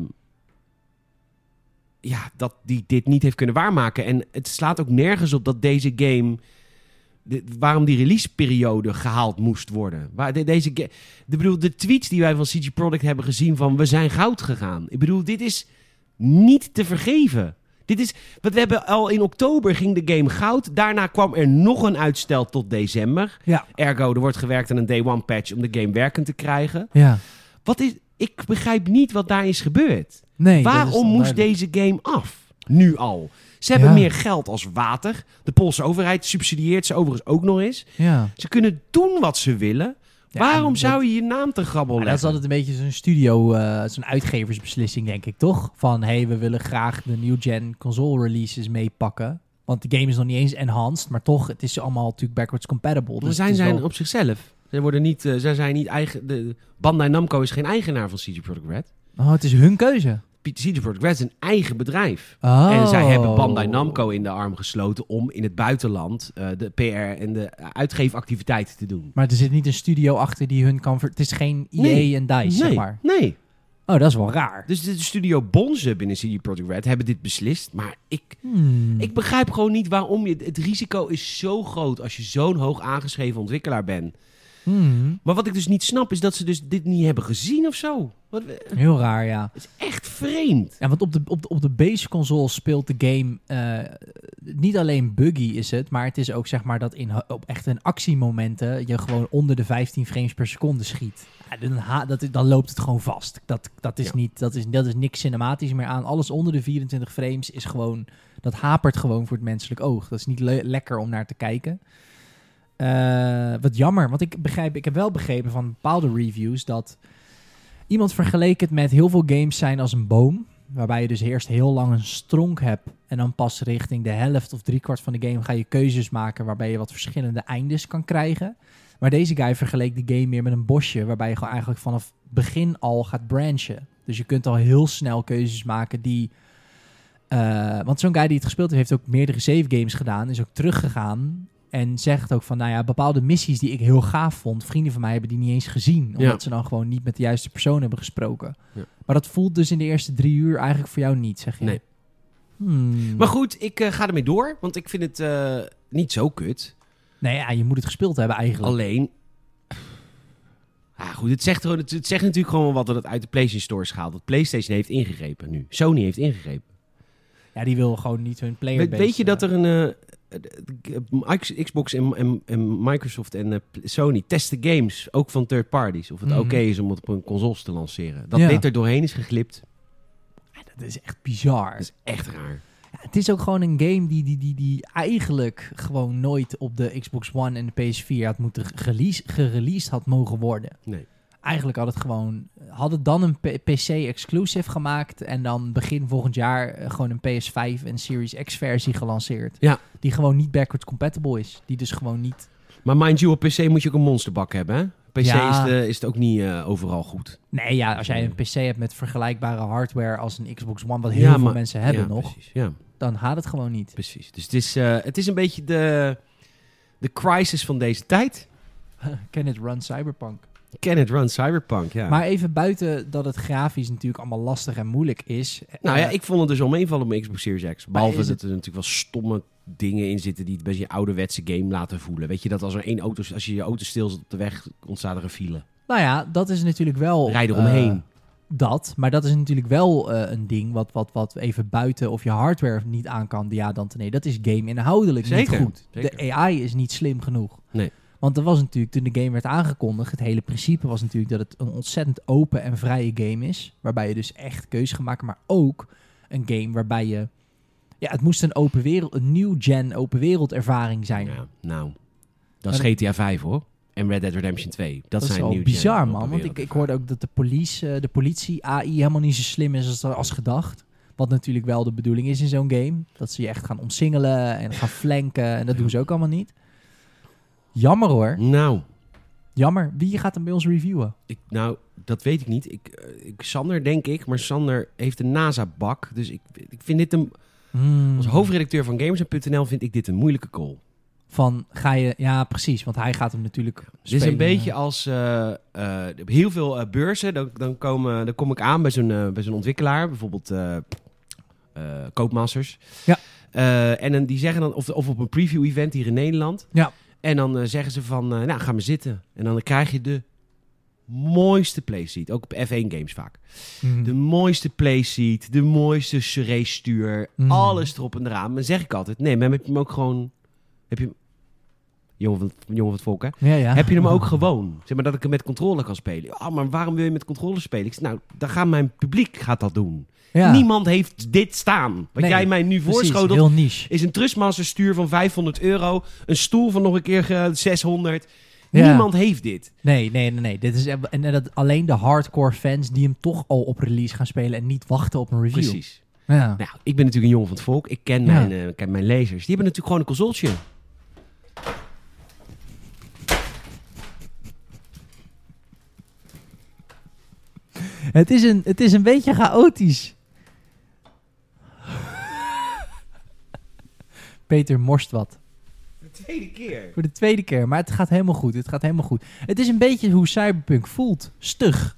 Speaker 1: ja, dat die dit niet heeft kunnen waarmaken. En het slaat ook nergens op dat deze game... de- waarom die releaseperiode gehaald moest worden. Waar de- deze ga- ik bedoel, de tweets die wij van CG Product hebben gezien van... we zijn goud gegaan. Ik bedoel, dit is niet te vergeven. Dit is, want we hebben al in oktober ging de game goud. Daarna kwam er nog een uitstel tot december.
Speaker 2: Ja.
Speaker 1: Ergo, er wordt gewerkt aan een day one patch om de game werkend te krijgen.
Speaker 2: Ja.
Speaker 1: Wat is, ik begrijp niet wat daar is gebeurd.
Speaker 2: Nee, dat is
Speaker 1: Waarom
Speaker 2: dan
Speaker 1: moest
Speaker 2: duidelijk.
Speaker 1: deze game af? Nu al. Ze hebben
Speaker 2: Ja.
Speaker 1: meer geld als water. De Poolse overheid subsidieert ze overigens ook nog eens.
Speaker 2: Ja.
Speaker 1: Ze kunnen doen wat ze willen.
Speaker 2: Ja,
Speaker 1: Waarom
Speaker 2: dat-
Speaker 1: zou je je naam te grabbel
Speaker 2: Maar dat is
Speaker 1: leggen?
Speaker 2: altijd een beetje zo'n studio, eh, zo'n uitgeversbeslissing, denk ik, toch? Van, hé, hey, we willen graag de new-gen console releases meepakken. Want de game is nog niet eens enhanced, maar toch, het is allemaal natuurlijk backwards compatible.
Speaker 1: Maar
Speaker 2: Dus
Speaker 1: zijn
Speaker 2: het is
Speaker 1: zijn
Speaker 2: wel-
Speaker 1: op zichzelf. Zij worden niet, eh, zij zijn niet eigen. De, Bandai Namco is geen eigenaar van CG Product Red.
Speaker 2: Oh, het is hun keuze.
Speaker 1: P- CG Product Red is een eigen bedrijf.
Speaker 2: Oh.
Speaker 1: En zij hebben Bandai Namco in de arm gesloten om in het buitenland eh, de PR en de uitgeefactiviteiten te doen.
Speaker 2: Maar er zit niet een studio achter die hun kan... ver- Het is geen EA
Speaker 1: Nee.
Speaker 2: en DICE, zeg
Speaker 1: nee,
Speaker 2: maar.
Speaker 1: nee.
Speaker 2: Oh, dat is wel raar.
Speaker 1: Dus de studio Bonzen binnen CG Product Red hebben dit beslist. Maar ik,
Speaker 2: Hmm.
Speaker 1: ik begrijp gewoon niet waarom je. Het risico is zo groot als je zo'n hoog aangeschreven ontwikkelaar bent.
Speaker 2: Hmm.
Speaker 1: Maar wat ik dus niet snap is dat ze dus dit niet hebben gezien of zo. Wat, het
Speaker 2: Heel raar, ja.
Speaker 1: is echt vreemd.
Speaker 2: Ja, want op de, op de, op de base console speelt de game eh, niet alleen buggy is het, maar het is ook zeg maar dat in, op echt een actiemomenten je gewoon onder de 15 frames per seconde schiet. Ja, dan, ha- dat, is- dan loopt het gewoon vast. Dat, dat, is
Speaker 1: Ja.
Speaker 2: niet, dat, is, dat is niks cinematisch meer aan. Alles onder de 24 frames is gewoon, dat hapert gewoon voor het menselijk oog. Dat is niet le- lekker om naar te kijken. Eh, wat jammer, want ik, begrijp, ik heb wel begrepen van bepaalde reviews dat Iemand vergeleek het met heel veel games zijn als een boom. Waarbij je dus eerst heel lang een stronk hebt. En dan pas richting de helft of driekwart van de game ga je keuzes maken. Waarbij je wat verschillende eindes kan krijgen. Maar deze guy vergeleek de game meer met een bosje. Waarbij je gewoon eigenlijk vanaf het begin al gaat branchen. Dus je kunt al heel snel keuzes maken die. eh, want zo'n guy die het gespeeld heeft, heeft ook meerdere save games gedaan. Is ook teruggegaan. En zegt ook van, nou ja, bepaalde missies die ik heel gaaf vond. Vrienden van mij hebben die niet eens gezien. Omdat
Speaker 1: Ja.
Speaker 2: ze dan gewoon niet met de juiste persoon hebben gesproken.
Speaker 1: Ja.
Speaker 2: Maar dat voelt dus in de eerste drie uur eigenlijk voor jou niet, zeg je?
Speaker 1: Nee.
Speaker 2: Hmm.
Speaker 1: Maar goed, ik eh, ga ermee door, want ik vind het eh, niet zo kut.
Speaker 2: Nee, ja, je moet het gespeeld hebben eigenlijk.
Speaker 1: Alleen... Ah, goed, het zegt, gewoon- het, het zegt natuurlijk gewoon wel wat dat het uit de PlayStation Store is gehaald. Dat PlayStation heeft ingegrepen nu. Sony heeft ingegrepen.
Speaker 2: Ja, die wil gewoon niet hun player
Speaker 1: Weet, weet je dat er een... eh, eh, eh, Xbox en, en, en Microsoft en eh, Sony testen games, ook van third parties. Of het
Speaker 2: Mhm.
Speaker 1: oké is om het op hun consoles te lanceren. Dat
Speaker 2: Ja.
Speaker 1: dit er doorheen is geglipt,
Speaker 2: Dat is echt bizar.
Speaker 1: dat is echt raar.
Speaker 2: Ja, het is ook gewoon een game die, die, die, die eigenlijk gewoon nooit op de Xbox One en de PS4 had moeten gerelease- gereleased had mogen worden.
Speaker 1: Nee.
Speaker 2: Eigenlijk had het gewoon, had het dan een P- PC exclusive gemaakt en dan begin volgend jaar eh, gewoon een PS5 en Series X versie gelanceerd.
Speaker 1: Ja.
Speaker 2: Die gewoon niet backwards compatible is. Die dus gewoon niet.
Speaker 1: Maar mind you, op PC moet je ook een monsterbak hebben, hè? PC
Speaker 2: Ja.
Speaker 1: is, de- is het ook niet eh, overal goed.
Speaker 2: Nee, ja, als jij een PC hebt met vergelijkbare hardware als een Xbox One, wat heel
Speaker 1: Ja,
Speaker 2: veel
Speaker 1: maar-
Speaker 2: mensen hebben
Speaker 1: ja,
Speaker 2: nog,
Speaker 1: Precies, ja,
Speaker 2: dan gaat het gewoon niet.
Speaker 1: precies. Dus het is, eh, het is een beetje de, de crisis van deze tijd.
Speaker 2: Can it run Cyberpunk?
Speaker 1: Can it run cyberpunk, ja.
Speaker 2: Maar even buiten dat het grafisch natuurlijk allemaal lastig en moeilijk is.
Speaker 1: nou ja,
Speaker 2: eh,
Speaker 1: ik vond het dus al meevallen op mijn Xbox Series X. Behalve dat
Speaker 2: is het-
Speaker 1: er natuurlijk wel stomme dingen in zitten die het best je ouderwetse game laten voelen. Weet je dat als er één auto, als je je auto stilzet op de weg, ontstaat er een file.
Speaker 2: Nou ja, dat is natuurlijk wel...
Speaker 1: Rij eromheen.
Speaker 2: eh, dat, maar dat is natuurlijk wel eh, een ding wat, wat, wat even buiten of je hardware niet aan kan. Ja, dan te nee, dat is game inhoudelijk
Speaker 1: Zeker,
Speaker 2: niet goed.
Speaker 1: zeker.
Speaker 2: De AI is niet slim genoeg.
Speaker 1: Nee.
Speaker 2: Want er was natuurlijk, toen de game werd aangekondigd, het hele principe was natuurlijk dat het een ontzettend open en vrije game is. Waarbij je dus echt keus gaat maken, maar ook een game waarbij je... Ja, het moest een open wereld, een nieuw gen open wereld ervaring zijn.
Speaker 1: Ja, nou, dat is GTA 5 hoor. En Red Dead Redemption 2. Dat,
Speaker 2: Dat,
Speaker 1: zijn
Speaker 2: is wel
Speaker 1: nieuw
Speaker 2: bizar,
Speaker 1: gen-
Speaker 2: man. Want ik, ik
Speaker 1: wereldervaring.
Speaker 2: hoorde ook dat de politie, eh, de politie AI helemaal niet zo slim is als, als gedacht. Wat natuurlijk wel de bedoeling is in zo'n game. Dat ze je echt gaan omsingelen en gaan flanken. En dat doen ze ook allemaal niet. Jammer hoor.
Speaker 1: Nou,
Speaker 2: Jammer. Wie gaat hem bij ons reviewen?
Speaker 1: Ik, nou, dat weet ik niet. Ik, eh, ik, Sander, denk ik. Maar Sander heeft een NASA-bak. Dus ik, ik vind dit een...
Speaker 2: Hmm.
Speaker 1: Als
Speaker 2: Mhm.
Speaker 1: hoofdredacteur van Gamers.nl vind ik dit een moeilijke call.
Speaker 2: Van ga je... Ja, precies. Want hij gaat hem natuurlijk
Speaker 1: Dit is een
Speaker 2: spelen.
Speaker 1: beetje als... eh, eh, op heel veel eh, beurzen, dan, dan, komen, dan kom ik aan bij zo'n eh, bij zo'n ontwikkelaar. Bijvoorbeeld eh eh, Koopmasters.
Speaker 2: Ja.
Speaker 1: Eh, en dan, die zeggen dan... Of, of op een preview-event hier in Nederland.
Speaker 2: Ja.
Speaker 1: En dan eh, zeggen ze van... eh, nou, ga maar zitten. En dan krijg je de mooiste playseat. Ook op F1-games vaak.
Speaker 2: Mhm.
Speaker 1: De mooiste playseat, de mooiste race-stuur,
Speaker 2: Mm.
Speaker 1: alles erop en eraan. Maar dan zeg ik altijd, nee, maar heb je hem ook gewoon... Heb je hem... Jongen van, jongen van het volk, hè?
Speaker 2: ja, ja.
Speaker 1: Heb je hem ook gewoon? Zeg maar dat ik hem met controle kan spelen. Ah, maar waarom wil je met controle spelen? Ik zeg, nou, dan gaat mijn publiek gaat dat doen.
Speaker 2: Ja,
Speaker 1: Niemand heeft dit staan. Wat
Speaker 2: Nee,
Speaker 1: jij mij nu
Speaker 2: precies.
Speaker 1: voorschotelt,
Speaker 2: Heel niche.
Speaker 1: is een Trustmaster stuur van 500 euro. Een stoel van nog een keer eh, 600.
Speaker 2: Ja.
Speaker 1: Niemand heeft dit.
Speaker 2: Nee, nee, nee. nee. Dit is, en, en dat alleen de hardcore fans die hem toch al op release gaan spelen en niet wachten op een review.
Speaker 1: Precies.
Speaker 2: Ja.
Speaker 1: Nou, ik ben natuurlijk een jongen van het volk. Ik ken,
Speaker 2: Ja.
Speaker 1: mijn, eh, ik ken mijn lezers. Die hebben natuurlijk gewoon een consoltje.
Speaker 2: Het is een, het is een beetje chaotisch. Peter morst wat.
Speaker 1: De tweede keer.
Speaker 2: Voor de tweede keer. Maar het gaat helemaal goed. Het gaat helemaal goed. Het is een beetje hoe Cyberpunk voelt. Stug.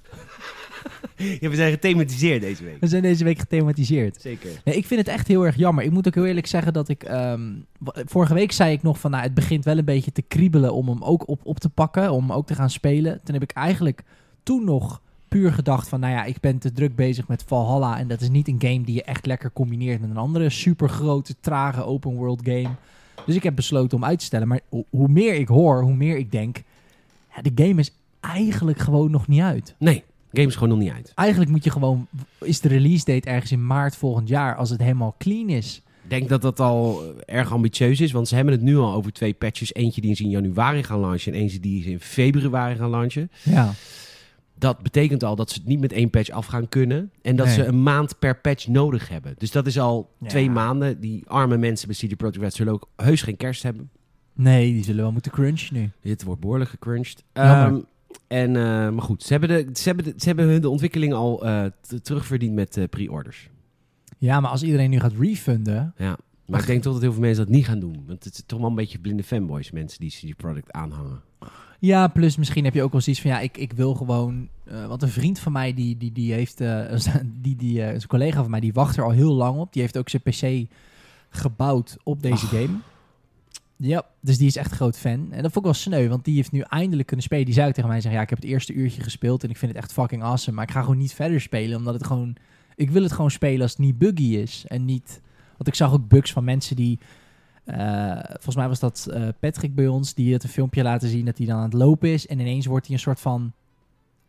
Speaker 1: Ja, we zijn gethematiseerd deze week.
Speaker 2: We zijn deze week gethematiseerd.
Speaker 1: Zeker.
Speaker 2: Nee, ik vind het echt heel erg jammer. Ik moet ook heel eerlijk zeggen dat ik... ehm, wa- vorige week zei ik nog van... Nou, het begint wel een beetje te kriebelen om hem ook op, op te pakken. Om hem ook te gaan spelen. Toen heb ik eigenlijk toen nog puur gedacht van... Nou ja, ik ben te druk bezig met Valhalla. En dat is niet een game die je echt lekker combineert met een andere supergrote, trage open world game. Dus ik heb besloten om uit te stellen. Maar ho- hoe meer ik hoor, hoe meer ik denk... Ja, de game is eigenlijk gewoon nog niet uit
Speaker 1: Nee, game is gewoon nog niet uit.
Speaker 2: eigenlijk moet je gewoon. Is de release date ergens in maart volgend jaar als het helemaal clean is?
Speaker 1: Ik denk dat dat al eh, erg ambitieus is, want ze hebben het nu al over twee patches. Eentje die ze in januari gaan launchen en eentje die ze in februari gaan launchen.
Speaker 2: Ja.
Speaker 1: Dat betekent al dat ze het niet met één patch af gaan kunnen. En dat
Speaker 2: Nee.
Speaker 1: ze een maand per patch nodig hebben. Dus dat is al
Speaker 2: Ja.
Speaker 1: twee maanden. Die arme mensen bij CD Projekt Red zullen ook heus geen kerst hebben.
Speaker 2: Nee, die zullen wel moeten crunchen nu.
Speaker 1: Dit wordt behoorlijk gecrunched.
Speaker 2: Jammer.
Speaker 1: Ehm, en, eh, maar goed, ze hebben, de, ze, hebben de, ze hebben hun de ontwikkeling al eh, t- terugverdiend met eh, pre-orders.
Speaker 2: Ja, maar als iedereen nu gaat refunden...
Speaker 1: Maar ik denk toch dat heel veel mensen dat niet gaan doen. Want het is toch wel een beetje blinde fanboys, mensen die CD Projekt aanhangen.
Speaker 2: Ja, plus misschien heb je ook wel zoiets van... Ja, ik, ik wil gewoon... eh, want een vriend van mij, die, die, die heeft... eh, die, die, eh, is een collega van mij, die wacht er al heel lang op. Die heeft ook zijn PC gebouwd op deze game. Ja, dus die is echt groot fan. En dat vond ik wel sneu, want die heeft nu eindelijk kunnen spelen. Die zei ook tegen mij, zeggen, ja, ik heb het eerste uurtje gespeeld en ik vind het echt fucking awesome. Maar ik ga gewoon niet verder spelen, omdat het gewoon... Ik wil het gewoon spelen als het niet buggy is en niet... Want ik zag ook bugs van mensen die... eh, volgens mij was dat eh, Patrick bij ons, die het een filmpje laten zien dat hij dan aan het lopen is. En ineens wordt hij een soort van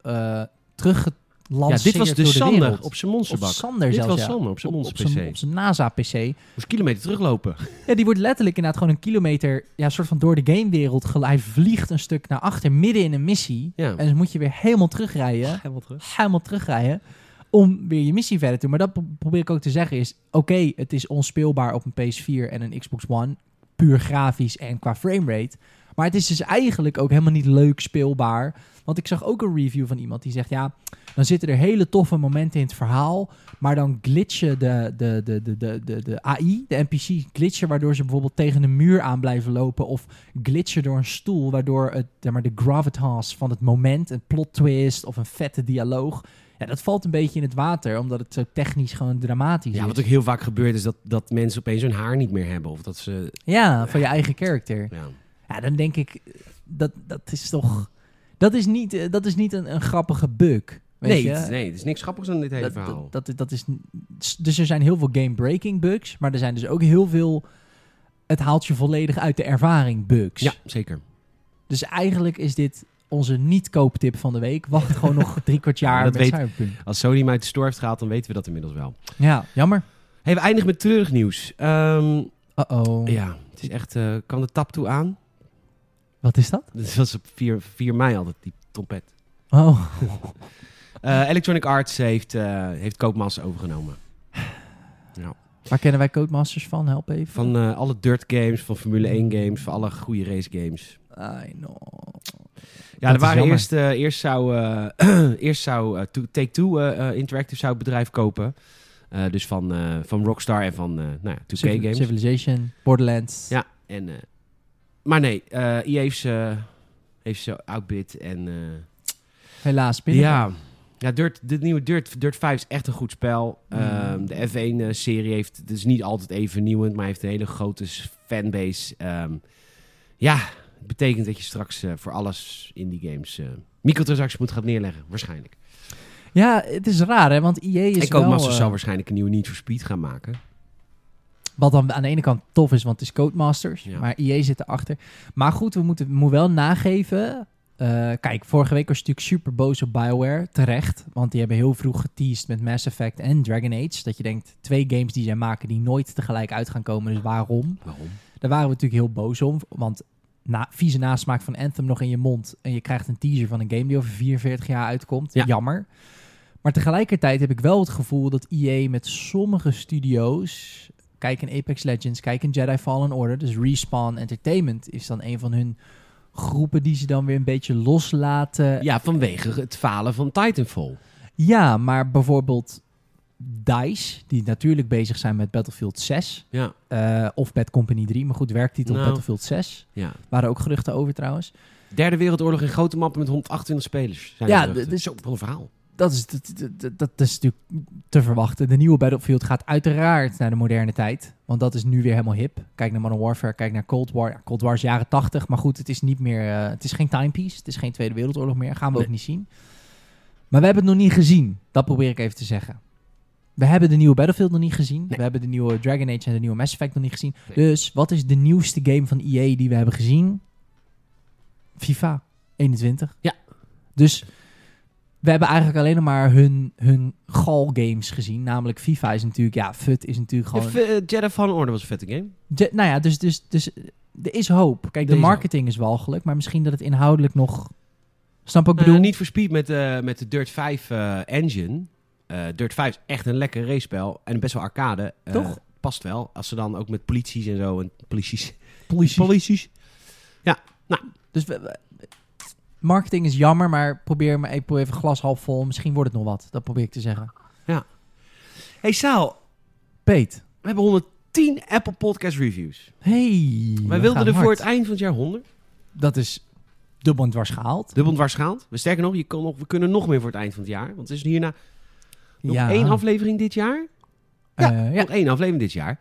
Speaker 2: eh
Speaker 1: Ja,
Speaker 2: teruggelanceerd
Speaker 1: dit was
Speaker 2: door
Speaker 1: dus Sander
Speaker 2: wereld.
Speaker 1: op zijn monsterbak.
Speaker 2: Of Sander
Speaker 1: dit
Speaker 2: zelfs,
Speaker 1: was
Speaker 2: ja.
Speaker 1: Sander op zijn
Speaker 2: Op- op zijn-
Speaker 1: monster-pc.
Speaker 2: Op zijn NASA-PC.
Speaker 1: Moest kilometer teruglopen.
Speaker 2: Ja, die wordt letterlijk inderdaad gewoon een kilometer, ja, soort van door de gamewereld geleid. Hij vliegt een stuk naar achter, midden in een missie.
Speaker 1: Ja.
Speaker 2: En dan moet je weer helemaal terugrijden. Helemaal terugrijden. Om weer je missie verder te doen. Maar dat pro- probeer ik ook te zeggen is... Oké, het is onspeelbaar op een PS4 en een Xbox One. Puur grafisch en qua framerate. Maar het is dus eigenlijk ook helemaal niet leuk speelbaar. Want ik zag ook een review van iemand die zegt... Ja, dan zitten er hele toffe momenten in het verhaal. Maar dan glitchen de, de, de, de, de, de, de AI, de NPC glitchen... waardoor ze bijvoorbeeld tegen een muur aan blijven lopen... of glitchen door een stoel, waardoor het, zeg maar, de gravitas van het moment, een plot twist of een vette dialoog, ja, dat valt een beetje in het water, omdat het zo technisch gewoon dramatisch
Speaker 1: Ja,
Speaker 2: is.
Speaker 1: wat ook heel vaak gebeurt is dat, dat mensen opeens hun haar niet meer hebben. Of dat ze...
Speaker 2: Ja, van je eigen karakter.
Speaker 1: Ja.
Speaker 2: Ja, dan denk ik, dat, dat is toch, dat is niet, eh, dat is niet een, een grappige bug. Weet
Speaker 1: Nee,
Speaker 2: je?
Speaker 1: het, is- nee, het is niks grappigs aan dit hele
Speaker 2: dat,
Speaker 1: verhaal.
Speaker 2: dat, dat, dat is, n- s- dus er zijn heel veel game-breaking bugs, maar er zijn dus ook heel veel, het haalt je volledig uit de ervaring bugs.
Speaker 1: ja, zeker.
Speaker 2: Dus eigenlijk is dit onze niet-kooptip van de week. Wacht gewoon nog drie kwart jaar
Speaker 1: Dat
Speaker 2: met
Speaker 1: weet-
Speaker 2: Cyberpunk.
Speaker 1: Als Sony hem uit de store heeft gehaald, dan weten we dat inmiddels wel.
Speaker 2: Ja, jammer.
Speaker 1: Hey, we eindigen met treurig nieuws. Ehm,
Speaker 2: Uh-oh.
Speaker 1: ja, het is echt... eh, kan de tap toe aan?
Speaker 2: Wat is dat?
Speaker 1: Dat was op 4, 4 mei altijd, die trompet.
Speaker 2: Oh,
Speaker 1: Eh, Electronic Arts heeft, eh heeft Koopmassa overgenomen.
Speaker 2: waar kennen wij Codemasters van? Help even.
Speaker 1: Van eh, alle dirt games, van Formule 1 games, van alle goede race games.
Speaker 2: I know.
Speaker 1: Ja,
Speaker 2: Dat
Speaker 1: er
Speaker 2: is
Speaker 1: waren
Speaker 2: jammer.
Speaker 1: eerst, eh, eerst zou, eh, eerst zou eh, To- Take-Two eh, eh, Interactive zou het bedrijf kopen. Eh, dus van, eh, van Rockstar en van eh nou ja, 2K
Speaker 2: Civil-
Speaker 1: Games.
Speaker 2: Civilization, Borderlands.
Speaker 1: Ja, en, eh, maar nee, eh EA heeft ze, heeft ze outbid en... eh,
Speaker 2: Helaas, binnen.
Speaker 1: Ja, ja Dirt, dit nieuwe Dirt, Dirt 5 is echt een goed spel.
Speaker 2: Mm.
Speaker 1: Ehm, de F1-serie heeft, het is niet altijd even vernieuwend, maar heeft een hele grote s- fanbase. Ehm, ja, het betekent dat je straks eh, voor alles in die games eh, microtransacties moet gaan neerleggen, waarschijnlijk.
Speaker 2: ja, het is raar, hè? Want EA is
Speaker 1: en Codemasters
Speaker 2: wel... eh,
Speaker 1: zal waarschijnlijk een nieuwe Need for Speed gaan maken.
Speaker 2: Wat dan aan de ene kant tof is, want het is Codemasters.
Speaker 1: Ja.
Speaker 2: Maar EA zit erachter. Maar goed, we moeten, we moeten wel nageven. Eh, kijk, vorige week was ik natuurlijk super boos op BioWare. Terecht. Want die hebben heel vroeg geteased met Mass Effect en Dragon Age. Dat je denkt, twee games die zij maken die nooit tegelijk uit gaan komen. Dus waarom?
Speaker 1: Waarom?
Speaker 2: Daar waren we natuurlijk heel boos om. Want na, vieze nasmaak van Anthem nog in je mond. En je krijgt een teaser van een game die over 44 jaar uitkomt.
Speaker 1: Ja.
Speaker 2: Jammer. Maar tegelijkertijd heb ik wel het gevoel dat EA met sommige studio's... Kijk in Apex Legends, kijk in Jedi Fallen Order. Dus Respawn Entertainment is dan een van hun groepen die ze dan weer een beetje loslaten.
Speaker 1: Eh, Ja, vanwege het falen van Titanfall.
Speaker 2: Ja, maar bijvoorbeeld DICE, die natuurlijk bezig zijn met Battlefield 6.
Speaker 1: Ja,
Speaker 2: eh, of Bad Company 3, maar goed, werktitel
Speaker 1: Nou.
Speaker 2: Battlefield 6.
Speaker 1: ja.
Speaker 2: Waren ook geruchten over trouwens.
Speaker 1: Derde Wereldoorlog in grote mappen met 128 spelers. Zijn
Speaker 2: Ja,
Speaker 1: ja, dat
Speaker 2: d- dus-
Speaker 1: is ook wel een verhaal.
Speaker 2: dat is, dat, dat, dat is natuurlijk te verwachten. De nieuwe Battlefield gaat uiteraard naar de moderne tijd. Want dat is nu weer helemaal hip. Kijk naar Modern Warfare, kijk naar Cold War. Ja, Cold War is jaren 80, maar goed, het is niet meer. eh, het is geen timepiece. Het is geen Tweede Wereldoorlog meer. Gaan we
Speaker 1: Nee.
Speaker 2: ook niet zien. Maar we hebben het nog niet gezien. Dat probeer ik even te zeggen. We hebben de nieuwe Battlefield nog niet gezien. We hebben de nieuwe Dragon Age en de nieuwe Mass Effect nog niet gezien.
Speaker 1: Nee.
Speaker 2: Dus wat is de nieuwste game van EA die we hebben gezien? FIFA 21.
Speaker 1: Ja.
Speaker 2: Dus we hebben eigenlijk alleen nog maar hun, hun gal games gezien. Namelijk FIFA is natuurlijk, ja, FUT is natuurlijk gewoon...
Speaker 1: Even, eh, Jedi Fallen Order was een vette game.
Speaker 2: Je- nou ja, dus, dus, dus eh, er is hoop. Kijk,
Speaker 1: Er
Speaker 2: de
Speaker 1: is
Speaker 2: marketing is walgelijk, maar misschien dat het inhoudelijk nog Snap wat ik
Speaker 1: Nou,
Speaker 2: bedoel?
Speaker 1: niet voor Speed met, eh, met de Dirt 5 eh, engine. Eh, Dirt 5 is echt een lekker racepel. En best wel arcade. Eh,
Speaker 2: Toch?
Speaker 1: Past wel. Als ze dan ook met polities en zo. En polities.
Speaker 2: politie.
Speaker 1: Polities.
Speaker 2: Dus we- we- marketing is jammer, maar probeer maar even, even glas half vol. Misschien wordt het nog wat. Dat probeer ik te zeggen.
Speaker 1: Hey Saal,
Speaker 2: Peet.
Speaker 1: we hebben 110 Apple Podcast Reviews.
Speaker 2: Hey.
Speaker 1: Wij
Speaker 2: we
Speaker 1: wilden
Speaker 2: gaan
Speaker 1: er voor
Speaker 2: hard.
Speaker 1: het eind van het jaar 100.
Speaker 2: Dat is dubbel en dwars gehaald.
Speaker 1: Dubbel dwarschaald. We Sterker nog, je kan nog, we kunnen nog meer voor het eind van het jaar. Want het is hierna nog
Speaker 2: Ja.
Speaker 1: één aflevering dit jaar. ja.
Speaker 2: Eh, ja.
Speaker 1: Nog één aflevering dit jaar.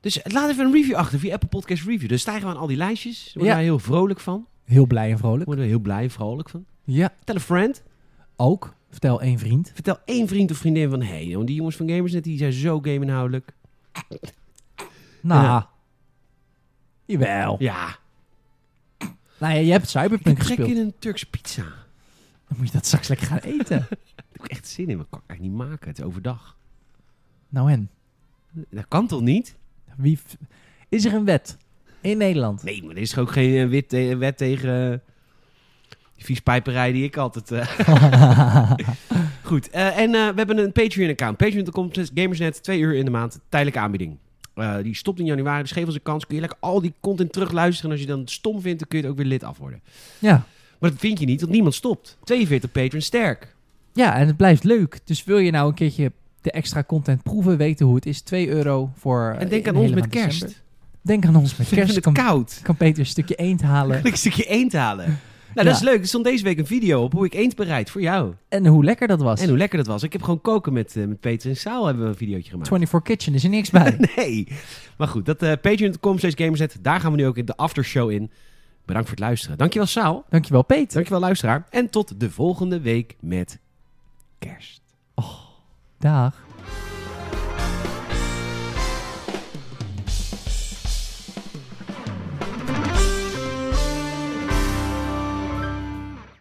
Speaker 1: Dus laat even een review achter via Apple Podcast Review. Dan stijgen we aan al die lijstjes. Daar worden
Speaker 2: Ja.
Speaker 1: wij heel vrolijk van. Daar
Speaker 2: Heel blij en vrolijk.
Speaker 1: worden we heel blij en vrolijk van.
Speaker 2: Ja,
Speaker 1: Tel een friend.
Speaker 2: ook. Vertel één vriend.
Speaker 1: Vertel één vriend of vriendin van... Hé, hey, die jongens van Gamersnet die zijn zo gameinhoudelijk.
Speaker 2: Nou.
Speaker 1: Ja.
Speaker 2: Jawel.
Speaker 1: Ja.
Speaker 2: Nou ja, je hebt Cyberpunk
Speaker 1: Ik trek
Speaker 2: gespeeld.
Speaker 1: in een Turks pizza. Daar
Speaker 2: Dan moet je dat straks lekker gaan eten.
Speaker 1: heb ik echt zin in. Maar kan ik eigenlijk niet maken. Het is overdag.
Speaker 2: nou en?
Speaker 1: Dat kan toch niet?
Speaker 2: Wie f- is er een wet in Nederland?
Speaker 1: Nee, maar er is toch ook geen eh, wit te- wet tegen... eh, die viespijperij die ik altijd... eh, Goed, eh, en eh, we hebben een Patreon-account. Patreon.com, slash gamersnet, twee uur in de maand, tijdelijke aanbieding. Eh, die stopt in januari, dus geef ons een kans. Kun je lekker al die content terugluisteren. En als je dan stom vindt, dan kun je het ook weer lid af worden.
Speaker 2: ja.
Speaker 1: Maar dat vind je niet, want niemand stopt. 42 patrons sterk.
Speaker 2: ja, en het blijft leuk. Dus wil je nou een keertje de extra content proeven, weten hoe het is. 2 euro voor. eh,
Speaker 1: En denk
Speaker 2: een
Speaker 1: aan ons
Speaker 2: hele
Speaker 1: met
Speaker 2: maand
Speaker 1: kerst.
Speaker 2: december. Denk aan ons met
Speaker 1: Ik vind
Speaker 2: kerst.
Speaker 1: het
Speaker 2: Kan,
Speaker 1: koud.
Speaker 2: kan Peter een stukje eend halen.
Speaker 1: Kan ik een stukje eend halen? Nou, dat
Speaker 2: Ja.
Speaker 1: is leuk. Er stond deze week een video op hoe ik eend bereid voor jou.
Speaker 2: En hoe lekker dat was.
Speaker 1: En hoe lekker dat was. Ik heb gewoon koken met, eh, met Peter en Saal hebben we een videootje gemaakt.
Speaker 2: 24 Kitchen is er niks bij.
Speaker 1: Nee. Maar goed, dat eh patreon.com slash gamerzet. Daar gaan we nu ook in de aftershow in. Bedankt voor het luisteren. Dankjewel Saal.
Speaker 2: Dankjewel, Peter.
Speaker 1: Dankjewel luisteraar. En tot de volgende week met kerst.
Speaker 2: Oh. Dag.